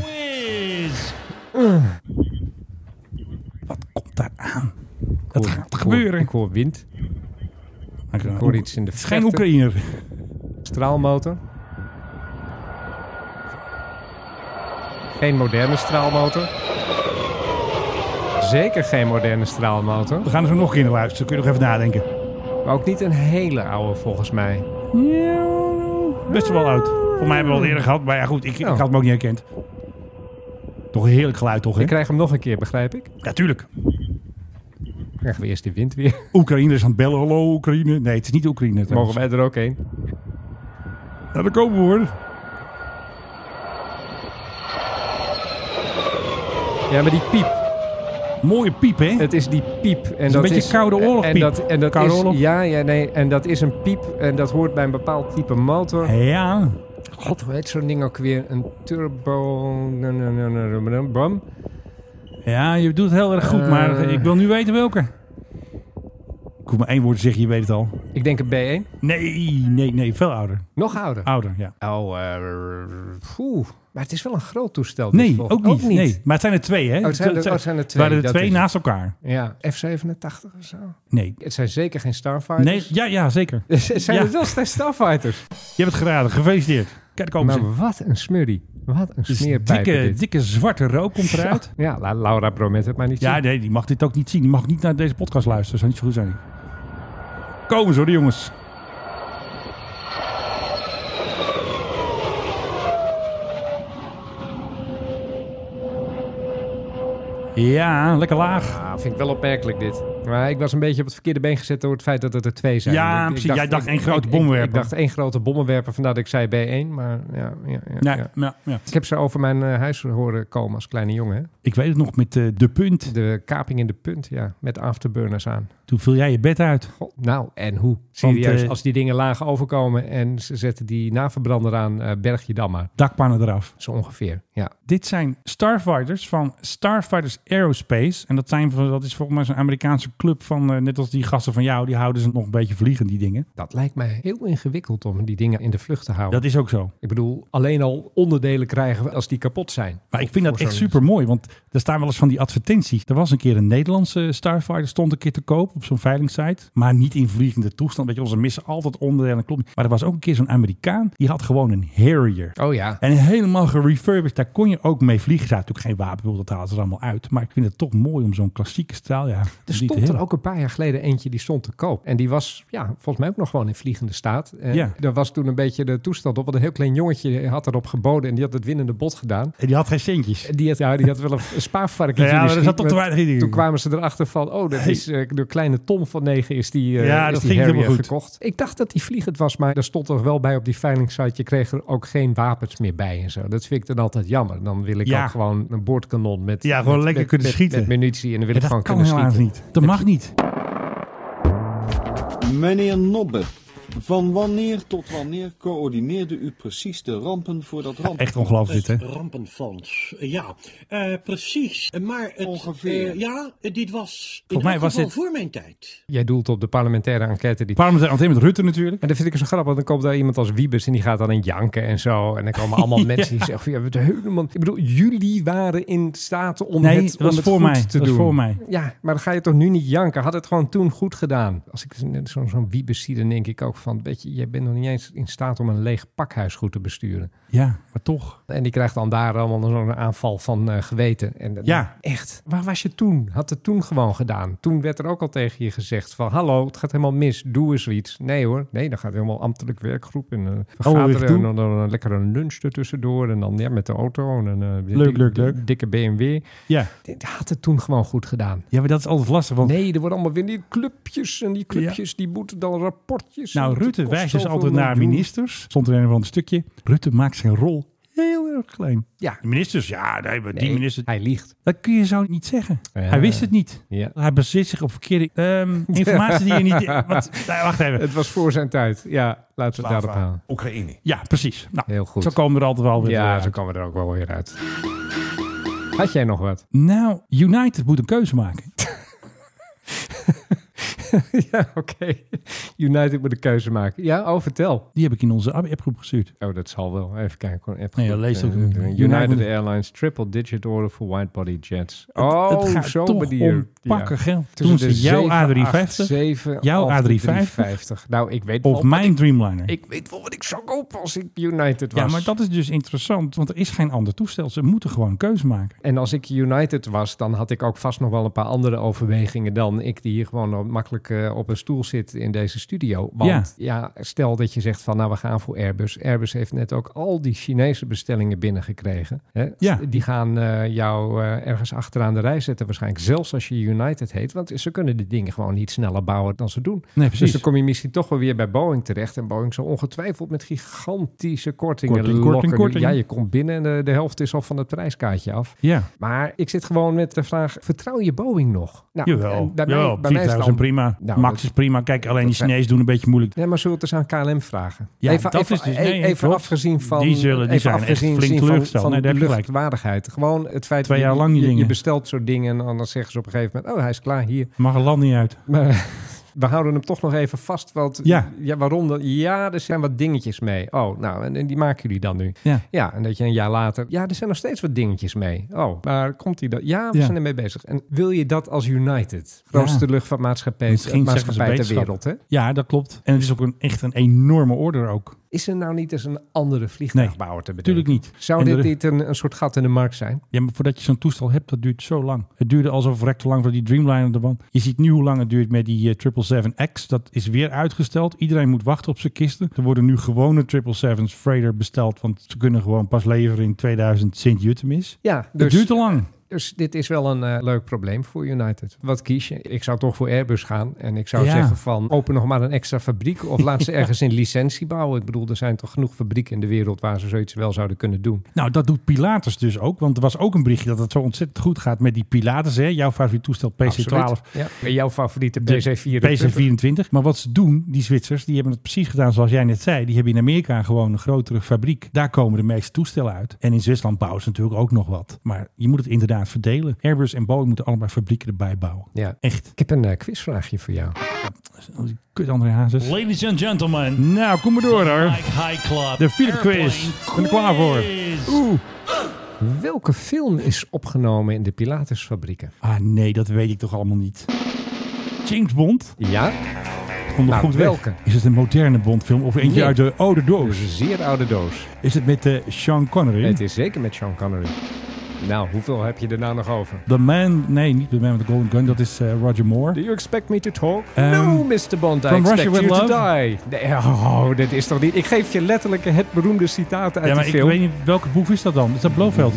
S4: Dat gaat gebeuren. Ik hoor wind.
S3: Ik
S4: hoor iets in de
S3: Het is geen
S4: verte.
S3: Oekraïner.
S4: Straalmotor. Geen moderne straalmotor. Zeker geen moderne straalmotor.
S3: We gaan er zo nog een keer naar luisteren. Kun je nog even nadenken.
S4: Maar ook niet een hele oude volgens mij.
S3: Best wel oud. Voor mij hebben we al eerder gehad. Maar ja goed, ik,
S4: Oh.
S3: ik had hem ook niet herkend. Toch een heerlijk geluid toch hè?
S4: Ik krijg hem nog een keer, begrijp ik.
S3: Ja, tuurlijk.
S4: Krijgen we eerst die wind weer.
S3: Oekraïne is aan het bellen. Hallo Oekraïne. Nee, het is niet Oekraïne.
S4: Mogen wij er ook heen?
S3: Nou, daar komen we hoor.
S4: Ja, maar die piep.
S3: Mooie piep, hè?
S4: Het is die piep. En
S3: een
S4: dat
S3: beetje
S4: is,
S3: Koude Oorlog
S4: en
S3: piep.
S4: dat, en dat
S3: Koude
S4: is,
S3: Oorlog.
S4: Ja, ja, nee. En dat is een piep. En dat hoort bij een bepaald type motor.
S3: Ja.
S4: God, hoe heet zo'n ding ook weer? Een turbo... na, na, na, na, na, na, Bam.
S3: Ja, je doet het heel erg goed. Maar
S4: Eh.
S3: ik wil nu weten welke. Ik hoef maar één woord te zeggen. Je weet het al.
S4: Ik denk een B1.
S3: Nee, nee, nee. Veel ouder.
S4: Nog ouder.
S3: Ouder, ja.
S4: Oh, eh, poeh. Maar het is wel een groot toestel. dit
S3: Nee,
S4: volgens-
S3: ook niet. Nee. Maar het zijn er twee, hè?
S4: Oh, het zijn er-
S3: Het
S4: oh, het zijn er
S3: het
S4: twee,
S3: waren er
S4: dat
S3: twee
S4: is het.
S3: naast elkaar.
S4: Ja, F-87 of zo.
S3: Nee.
S4: Het zijn zeker geen Starfighters.
S3: nee ja, ja, zeker.
S4: [LAUGHS] Het zijn
S3: Ja.
S4: er wel steeds Starfighters.
S3: Je hebt het geraden. Gefeliciteerd. Kijk, daar komen
S4: Maar
S3: Oh, ze.
S4: Nou, wat een smurrie. Wat een
S3: Dus
S4: smeerpijp.
S3: dikke, dikke zwarte rook komt eruit.
S4: Ja, ja, La- Laura Bromet het maar niet
S3: Ja,
S4: zien.
S3: nee, die mag dit ook niet zien. Die mag niet naar deze podcast luisteren. Zou niet zo goed zijn. Komen ze hoor, die jongens. Ja, lekker laag.
S4: Ja, Nou, vind ik wel opmerkelijk dit. Maar ik was een beetje op het verkeerde been gezet door het feit dat het er twee zijn.
S3: Ja,
S4: Ik- ik
S3: precies. Jij dacht één grote
S4: ik-
S3: bommenwerper.
S4: Ik, dacht één grote bommenwerper, vandaar dat ik zei B1. Maar ja, ja, ja,
S3: Nee,
S4: ja.
S3: ja, ja.
S4: Ik heb ze over mijn eh, huis horen komen als kleine jongen. hè.
S3: Ik weet het nog met eh, de punt.
S4: De kaping in de punt, ja. Met afterburners aan.
S3: Toen viel jij je bed uit.
S4: nou, en hoe?
S3: Want,
S4: Serieus,
S3: eh,
S4: als die dingen laag overkomen en ze zetten die naverbrander aan, eh, berg je dan maar.
S3: Dakpannen eraf.
S4: Zo ongeveer, ja.
S3: Dit zijn Starfighters van Starfighters Aerospace. En dat, zijn, van- dat is volgens mij zo'n Amerikaanse club van, eh, net als die gasten van jou, die houden ze nog een beetje vliegen, die dingen.
S4: Dat lijkt mij heel ingewikkeld om die dingen in de vlucht te houden.
S3: Dat is ook zo.
S4: Ik bedoel, alleen al onderdelen krijgen als die kapot zijn.
S3: Maar ik vind dat
S4: Voor
S3: echt
S4: zo'n-
S3: super mooi, want er staan wel eens van die advertenties. Er was een keer een Nederlandse Starfighter, stond een keer te koop op zo'n veilingsite. Maar niet in vliegende toestand. Weet je, wel, ze missen altijd onderdelen. dat Klopt. niet. Maar er was ook een keer zo'n Amerikaan, die had gewoon een Harrier.
S4: Oh ja.
S3: En helemaal gerefurbished, daar kon je ook mee vliegen. Er zaten natuurlijk geen wapen, dat haalden ze er allemaal uit. Maar ik vind het toch mooi om zo'n klassieke straaljager
S4: Er
S3: die te
S4: stond
S3: hebben.
S4: er ook een paar jaar geleden eentje die stond te koop. En die was ja, volgens mij ook nog gewoon in vliegende staat. En
S3: Ja.
S4: Er was toen een beetje de toestand op. Want een heel klein jongetje had erop geboden en die had het winnende bod gedaan.
S3: En Eh, die had geen centjes.
S4: Die had, ja, die had wel een
S3: [LAUGHS]
S4: een spaarvarkentje.
S3: Ja, maar er
S4: misschien,
S3: zat toch te weinig in die-
S4: Toen kwamen ze erachter van, oh, dat is, eh, door kleine Tom van 9 is die, eh,
S3: Ja,
S4: is
S3: dat
S4: die
S3: ging
S4: Harrier
S3: helemaal goed.
S4: gekocht. Ik dacht dat die vliegend was, maar daar stond toch wel bij op die veilingsite. Je kreeg er ook geen wapens meer bij en zo. Dat vind ik dan altijd jammer. Dan wil ik
S3: Ja.
S4: ook gewoon een boordkanon met,
S3: Ja, gewoon
S4: met-
S3: lekker
S4: met-
S3: kunnen
S4: met-
S3: schieten.
S4: Met munitie en dan wil
S3: Ja,
S4: ik gewoon
S3: dat kan
S4: kunnen
S3: helaas
S4: schieten.
S3: niet. Dat mag niet.
S15: Meneer Nobbe, van wanneer tot wanneer coördineerde u precies de rampen voor dat rampen?
S3: echt ongelooflijk dit, hè?
S16: Rampenfonds, ja, eh, precies. Maar het,
S15: Ongeveer.
S16: eh, ja, dit was in
S4: Volgens mij
S16: elk
S4: was
S16: geval
S4: dit-
S16: voor mijn tijd.
S4: Jij doelt op de parlementaire enquête. Die...
S3: Parlementaire enquête met Rutte natuurlijk.
S4: En dat vind ik zo grappig, want dan komt daar iemand als Wiebes en die gaat dan in janken en zo. En dan komen allemaal
S3: [LAUGHS] Ja.
S4: mensen die zeggen van, ja, we hebben het helemaal... Ik bedoel, jullie waren in staat om
S3: Nee,
S4: het,
S3: dat was
S4: om het
S3: voor
S4: goed
S3: mij.
S4: te
S3: Dat was
S4: doen.
S3: voor mij.
S4: Ja, maar dan ga je toch nu niet janken. Had het gewoon toen goed gedaan. Als ik zo- zo'n Wiebes zie, dan denk ik ook van, weet je, jij bent nog niet eens in staat om een leeg pakhuis goed te besturen.
S3: Ja, maar toch.
S4: En die krijgt dan daar allemaal zo'n aanval van eh, geweten. En dat-
S3: Ja.
S4: Echt, waar was je toen? Had het toen gewoon gedaan. Toen werd er ook al tegen je gezegd van... hallo, het gaat helemaal mis, doe eens iets. Nee hoor, nee, dan gaat helemaal ambtelijk werkgroep...
S3: Oh,
S4: en eh vergaderen
S3: doen?
S4: en dan, dan een lekkere lunch er tussendoor... en dan ja, met de auto en een eh,
S3: Leuk, leuk,
S4: dikke-
S3: leuk.
S4: dikke BMW.
S3: Ja.
S4: Dit had het toen gewoon goed gedaan.
S3: Ja, maar dat is altijd lastig. Want
S4: Nee, er worden allemaal weer die clubjes... en die clubjes die moeten dan rapportjes...
S3: nou,
S4: en dat
S3: Rutte
S4: kost
S3: wijst dus
S4: zoveel
S3: altijd naar
S4: miljoen.
S3: ministers. Stond er een of ander stukje. Rutte maakt zijn rol heel erg klein.
S4: Ja.
S3: De ministers, ja, nee, maar die
S4: Nee,
S3: minister...
S4: Hij liegt.
S3: Dat kun je zo niet zeggen. Hij wist het niet.
S4: Ja.
S3: Hij bezit zich op verkeerde
S4: [LAUGHS]
S3: ehm, informatie die je niet... Wat, nee, wacht even.
S4: Het was voor zijn tijd. Ja, laten we het daarop
S3: Slava,
S4: halen.
S3: Oekraïne. Ja, precies. Nou,
S4: Heel goed.
S3: Zo komen we er altijd wel weer
S4: ja,
S3: uit.
S4: zo komen we er ook wel weer uit. Had jij nog
S3: [LAUGHS]
S4: wat?
S3: Nou, United moet een keuze maken.
S4: ja, oké. United moet een keuze maken. Ja, oh, vertel.
S3: Die heb ik in onze appgroep gestuurd.
S4: Oh, dat zal wel. Even kijken. hoor. Even
S3: Nee,
S4: goed.
S3: dat leest ook
S4: Eh,
S3: niet.
S4: United,
S3: United-
S4: Airlines triple digit order voor widebody jets. Oh,
S3: het gaat
S4: zo'n
S3: toch
S4: manier.
S3: om pakken geld.
S4: Tussen
S3: Doen
S4: de
S3: ze jouw
S4: 787,
S3: A350, jouw
S4: of
S3: A350.
S4: de 350. Nou, ik weet wel
S3: Of
S4: wat
S3: mijn
S4: ik-
S3: Dreamliner.
S4: Ik weet wel wat ik zou kopen als ik United was.
S3: Ja, maar dat is dus interessant, want er is geen ander toestel. Ze moeten gewoon een keuze maken.
S4: En als ik United was, dan had ik ook vast nog wel een paar andere overwegingen dan ik die hier gewoon op- makkelijk eh, op een stoel zit in deze studio. Want ja. stel dat je zegt van nou we gaan voor Airbus. Airbus heeft net ook al die Chinese bestellingen binnengekregen. Hè?
S3: Ja.
S4: Die gaan eh, jou eh, ergens achteraan de rij zetten waarschijnlijk. Zelfs als je United heet, want ze kunnen de dingen gewoon niet sneller bouwen dan ze doen.
S3: Nee, precies.
S4: Dus dan kom je misschien toch wel weer bij Boeing terecht. En Boeing zal ongetwijfeld met gigantische kortingen
S3: Korting,
S4: lokken.
S3: korting, korting.
S4: Ja, je komt binnen en eh, de, de helft is al van het prijskaartje af.
S3: Ja.
S4: Maar ik zit gewoon met de vraag: vertrouw je Boeing nog?
S3: Jawel,
S4: Nou, en bij mij-
S3: jawel.
S4: bij mij is het
S3: vliegtuigen
S4: dan-
S3: zijn prima.
S4: Nou,
S3: Max
S4: dat-
S3: is prima. Kijk, alleen die
S4: dat zijn-
S3: Chinezen doen een beetje moeilijk.
S4: Nee, maar zullen we het eens aan KLM vragen?
S3: Ja,
S4: even
S3: dat
S4: even,
S3: is dus-
S4: e-
S3: nee,
S4: even
S3: klopt.
S4: afgezien van
S3: Die zullen- die
S4: even
S3: zijn echt
S4: afgezien
S3: flink
S4: zien
S3: teleurgesteld.
S4: van,
S3: Nee,
S4: van
S3: daar heb je gelijk.
S4: luchtwaardigheid. Gewoon het feit
S3: Twee
S4: dat
S3: jaar
S4: je-
S3: lang die
S4: je, je
S3: dingen.
S4: bestelt zo'n dingen en dan zeggen ze op een gegeven moment: oh, hij is klaar hier.
S3: Mag een land niet uit.
S4: Maar [LAUGHS] we houden hem toch nog even vast. Want
S3: Ja.
S4: ja. waarom dan? Ja, er zijn wat dingetjes mee. Oh, nou, en, en die maken jullie dan nu.
S3: Ja.
S4: en dat je een jaar later. Ja, er zijn nog steeds wat dingetjes mee. Oh, waar komt hij dan? Ja, we
S3: Ja.
S4: zijn ermee bezig. En wil je dat als United? Grootste
S3: Ja.
S4: luchtvaartmaatschappij,
S3: Misschien zeggen ze
S4: maatschappij ter
S3: wetenschap.
S4: wereld, hè?
S3: Ja, dat klopt. En het is ook een, echt een enorme order ook.
S4: Is er nou niet eens een andere vliegtuigbouwer te bedenken?
S3: Natuurlijk niet.
S4: Zou
S3: En
S4: dit
S3: er-
S4: niet een, een soort gat in de markt zijn?
S3: Ja, maar voordat je zo'n toestel hebt, dat duurt zo lang. Het duurde alsof rek te lang voor die Dreamliner de band. Je ziet nu hoe lang het duurt met die eh, 777X. Dat is weer uitgesteld. Iedereen moet wachten op zijn kisten. Er worden nu gewone 777's freighter besteld, want ze kunnen gewoon pas leveren in 2000 Sint-Jutemis.
S4: Ja,
S3: Het
S4: dus
S3: duurt te lang.
S4: Dus dit is wel een eh, leuk probleem voor United. Wat kies je? Ik zou toch voor Airbus gaan. En ik zou
S3: Ja.
S4: zeggen van open nog maar een extra fabriek. Of
S3: [LAUGHS]
S4: laat ze ergens in licentie bouwen. Ik bedoel, er zijn toch genoeg fabrieken in de wereld waar ze zoiets wel zouden kunnen doen.
S3: Nou, dat doet Pilatus dus ook. Want er was ook een berichtje dat het zo ontzettend goed gaat met die Pilatus. Hè? Jouw favoriet toestel PC-12.
S4: Absoluut. Ja. En jouw favoriete
S3: De PC-24. Maar wat ze doen, die Zwitsers, die hebben het precies gedaan zoals jij net zei. Die hebben in Amerika gewoon een grotere fabriek. Daar komen de meeste toestellen uit. En in Zwitserland bouwen ze natuurlijk ook nog wat. Maar je moet het inderdaad verdelen. Airbus en Boeing moeten allemaal fabrieken erbij bouwen.
S4: Ja.
S3: Echt.
S4: Ik heb een eh, quizvraagje voor jou.
S3: Kut André Hazes.
S17: Ladies and gentlemen.
S3: Nou, kom maar door hoor.
S17: High Club.
S3: De Philip Quiz. Ik ben er klaar voor. Oeh.
S4: Welke film is opgenomen in de Pilatusfabrieken?
S3: Ah nee, dat weet ik toch allemaal niet. James Bond?
S4: Ja.
S3: Kom nog
S4: Nou,
S3: goed weg.
S4: welke?
S3: Is het een moderne Bondfilm of eentje
S4: Nee.
S3: uit de oude doos?
S4: Een zeer oude doos.
S3: Is het met eh, Sean Connery?
S4: Het is zeker met Sean Connery. Nou, hoeveel heb je er nou nog over?
S3: The Man... Nee, niet The Man with the Golden Gun. Dat is eh, Roger Moore.
S4: Do you expect me to talk?
S3: Ehm,
S4: no, Mr. Bond, I
S3: From
S4: expect
S3: Russia
S4: you
S3: with
S4: to
S3: Love?
S4: die. Nee, oh, dit is toch niet... Ik geef je letterlijk het beroemde citaat uit
S3: ja, maar
S4: de
S3: ik
S4: film.
S3: weet niet welke boef is dat dan? Is dat Blofeld?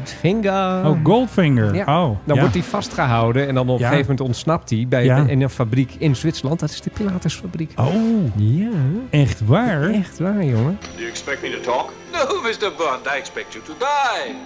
S4: Goldfinger.
S3: Oh, Goldfinger. Oh,
S4: dan
S3: ja.
S4: wordt hij vastgehouden en dan op
S3: Ja.
S4: een gegeven moment ontsnapt hij bij
S3: Ja.
S4: in een fabriek in Zwitserland. Dat is de Pilatusfabriek.
S3: Oh.
S4: Ja.
S3: Echt waar?
S4: Echt waar, jongen.
S18: Do you expect me to talk? No, Mr. Bond, I expect you to die.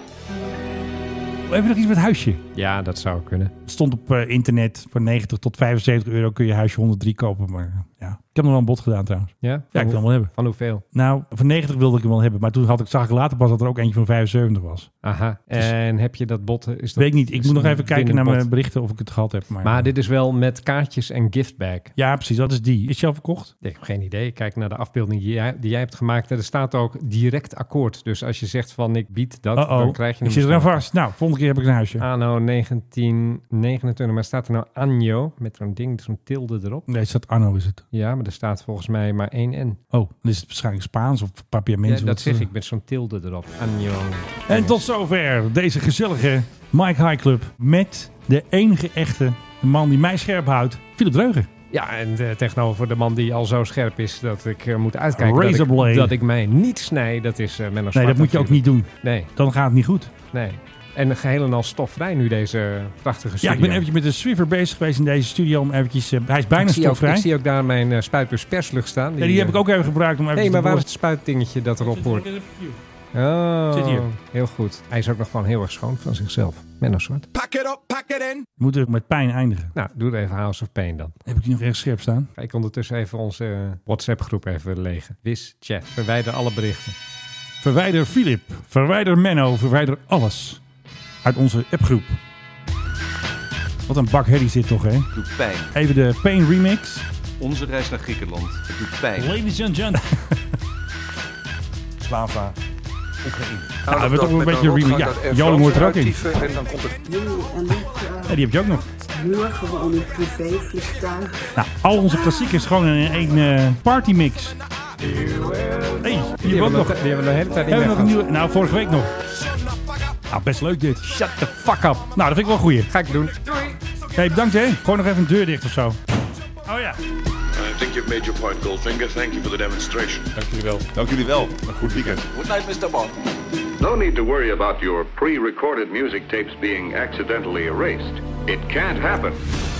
S3: Hebben we nog iets met huisje?
S4: Ja, dat zou kunnen.
S3: Het stond op eh, internet. Voor 90 tot 75 euro kun je huisje 103 kopen. Maar ja, ik heb nog wel een bod gedaan trouwens.
S4: Ja?
S3: Ja, ik wil hem wel hebben.
S4: Van hoeveel?
S3: Nou, voor 90 wilde ik hem wel hebben. Maar toen had ik, zag ik later pas dat er ook eentje van 75 was.
S4: Aha.
S3: Dus-
S4: En heb je dat bot? Is dat,
S3: Weet ik niet. Ik
S4: is
S3: moet nog
S4: dat
S3: even kijken naar
S4: binnen
S3: mijn
S4: bot?
S3: berichten of ik het gehad heb. Maar,
S4: Maar dit is wel met kaartjes en giftbag.
S3: Ja, precies. Dat is die. Is je al verkocht?
S4: Ik heb geen idee. Kijk naar de afbeelding die jij, die jij hebt gemaakt. En er staat ook direct akkoord. Dus als je zegt van ik bied dat,
S3: Uh-oh.
S4: dan krijg je hem.
S3: Ik zit eraan vast. Nou, volgende keer heb ik een huisje.
S4: Anno 1929. Maar staat er nou Anjo met zo'n ding, zo'n tilde erop?
S3: Nee, het staat Arno is het.
S4: Ja, maar er staat volgens mij maar één N.
S3: Oh, dan is het waarschijnlijk Spaans of papiamento.
S4: Ja, dat zeg ik met zo'n tilde erop. Anjo.
S3: eh. En tot zover deze gezellige Mike High Club met de enige echte man die mij scherp houdt, Philip Dreugen.
S4: Ja, en eh, tegenover de man die al zo scherp is dat ik eh, moet uitkijken dat
S3: Razorblade.
S4: ik, dat ik mij niet snij. Dat is eh Menno
S3: Nee, dat moet je ook niet doen.
S4: Nee.
S3: Dan gaat het niet goed.
S4: Nee. En geheel en al stofvrij nu deze prachtige
S3: Ja,
S4: studio.
S3: ik ben eventjes met de Swiffer bezig geweest in deze studio om eventjes... eh, hij is bijna
S4: ik zie, ook,
S3: stofvrij.
S4: ik zie ook daar mijn eh spuitbus perslucht staan.
S3: Nee, die heb ik ook even gebruikt om
S4: eh,
S3: even te
S4: Nee, maar waar is
S3: boren.
S4: het spuitdingetje dat erop hoort? Oh,
S3: Zit hier.
S4: heel goed. Hij is ook nog gewoon heel erg schoon van zichzelf. Menno Zwart.
S3: Moet ook met pijn eindigen.
S4: Nou, doe er even House of Pain dan.
S3: Heb ik die nog ergens scherp staan?
S4: Ga ik ondertussen even onze eh, WhatsApp-groep even legen. Wis, chat, verwijder alle berichten.
S3: Verwijder Philip, verwijder Menno, verwijder alles uit onze appgroep. Wat een bak herrie zit toch, hè?
S6: Doet pijn.
S3: Even de Pain Remix.
S6: Onze reis naar Griekenland. Het doet pijn.
S17: Ladies and
S3: [LAUGHS]
S17: gentlemen.
S6: Slava. Oekraïne.
S3: Nou, we hebben toch een beetje remix. Ja, Joling hoort er ook in.
S6: En dan komt het
S3: Ja, die heb je ook nog.
S19: Huur gewoon een privévliegtuig.
S3: Nou, al onze klassiekers gewoon in één eh, partymix. Hey,
S4: Die
S3: hier
S4: hebben
S3: ook
S4: we
S3: nog.
S4: nog- die hebben we de hele tijd niet
S3: Hebben we nog een
S4: weggehad.
S3: nieuwe? Nou, vorige week nog. Nou, best leuk dit. Shut
S4: the fuck up.
S3: Nou, dat vind ik wel een goeie.
S4: Ga ik doen.
S3: Hey, bedankt hè. Gewoon nog even een deur dicht of zo. Oh ja.
S20: I think you've made your point, Goldfinger. Thank you for the demonstration. Dank jullie wel. Dank jullie wel. Een goed weekend.
S18: Good night, Mr. Bond.
S5: No need to worry about your pre recorded music tapes being accidentally erased. It can't happen.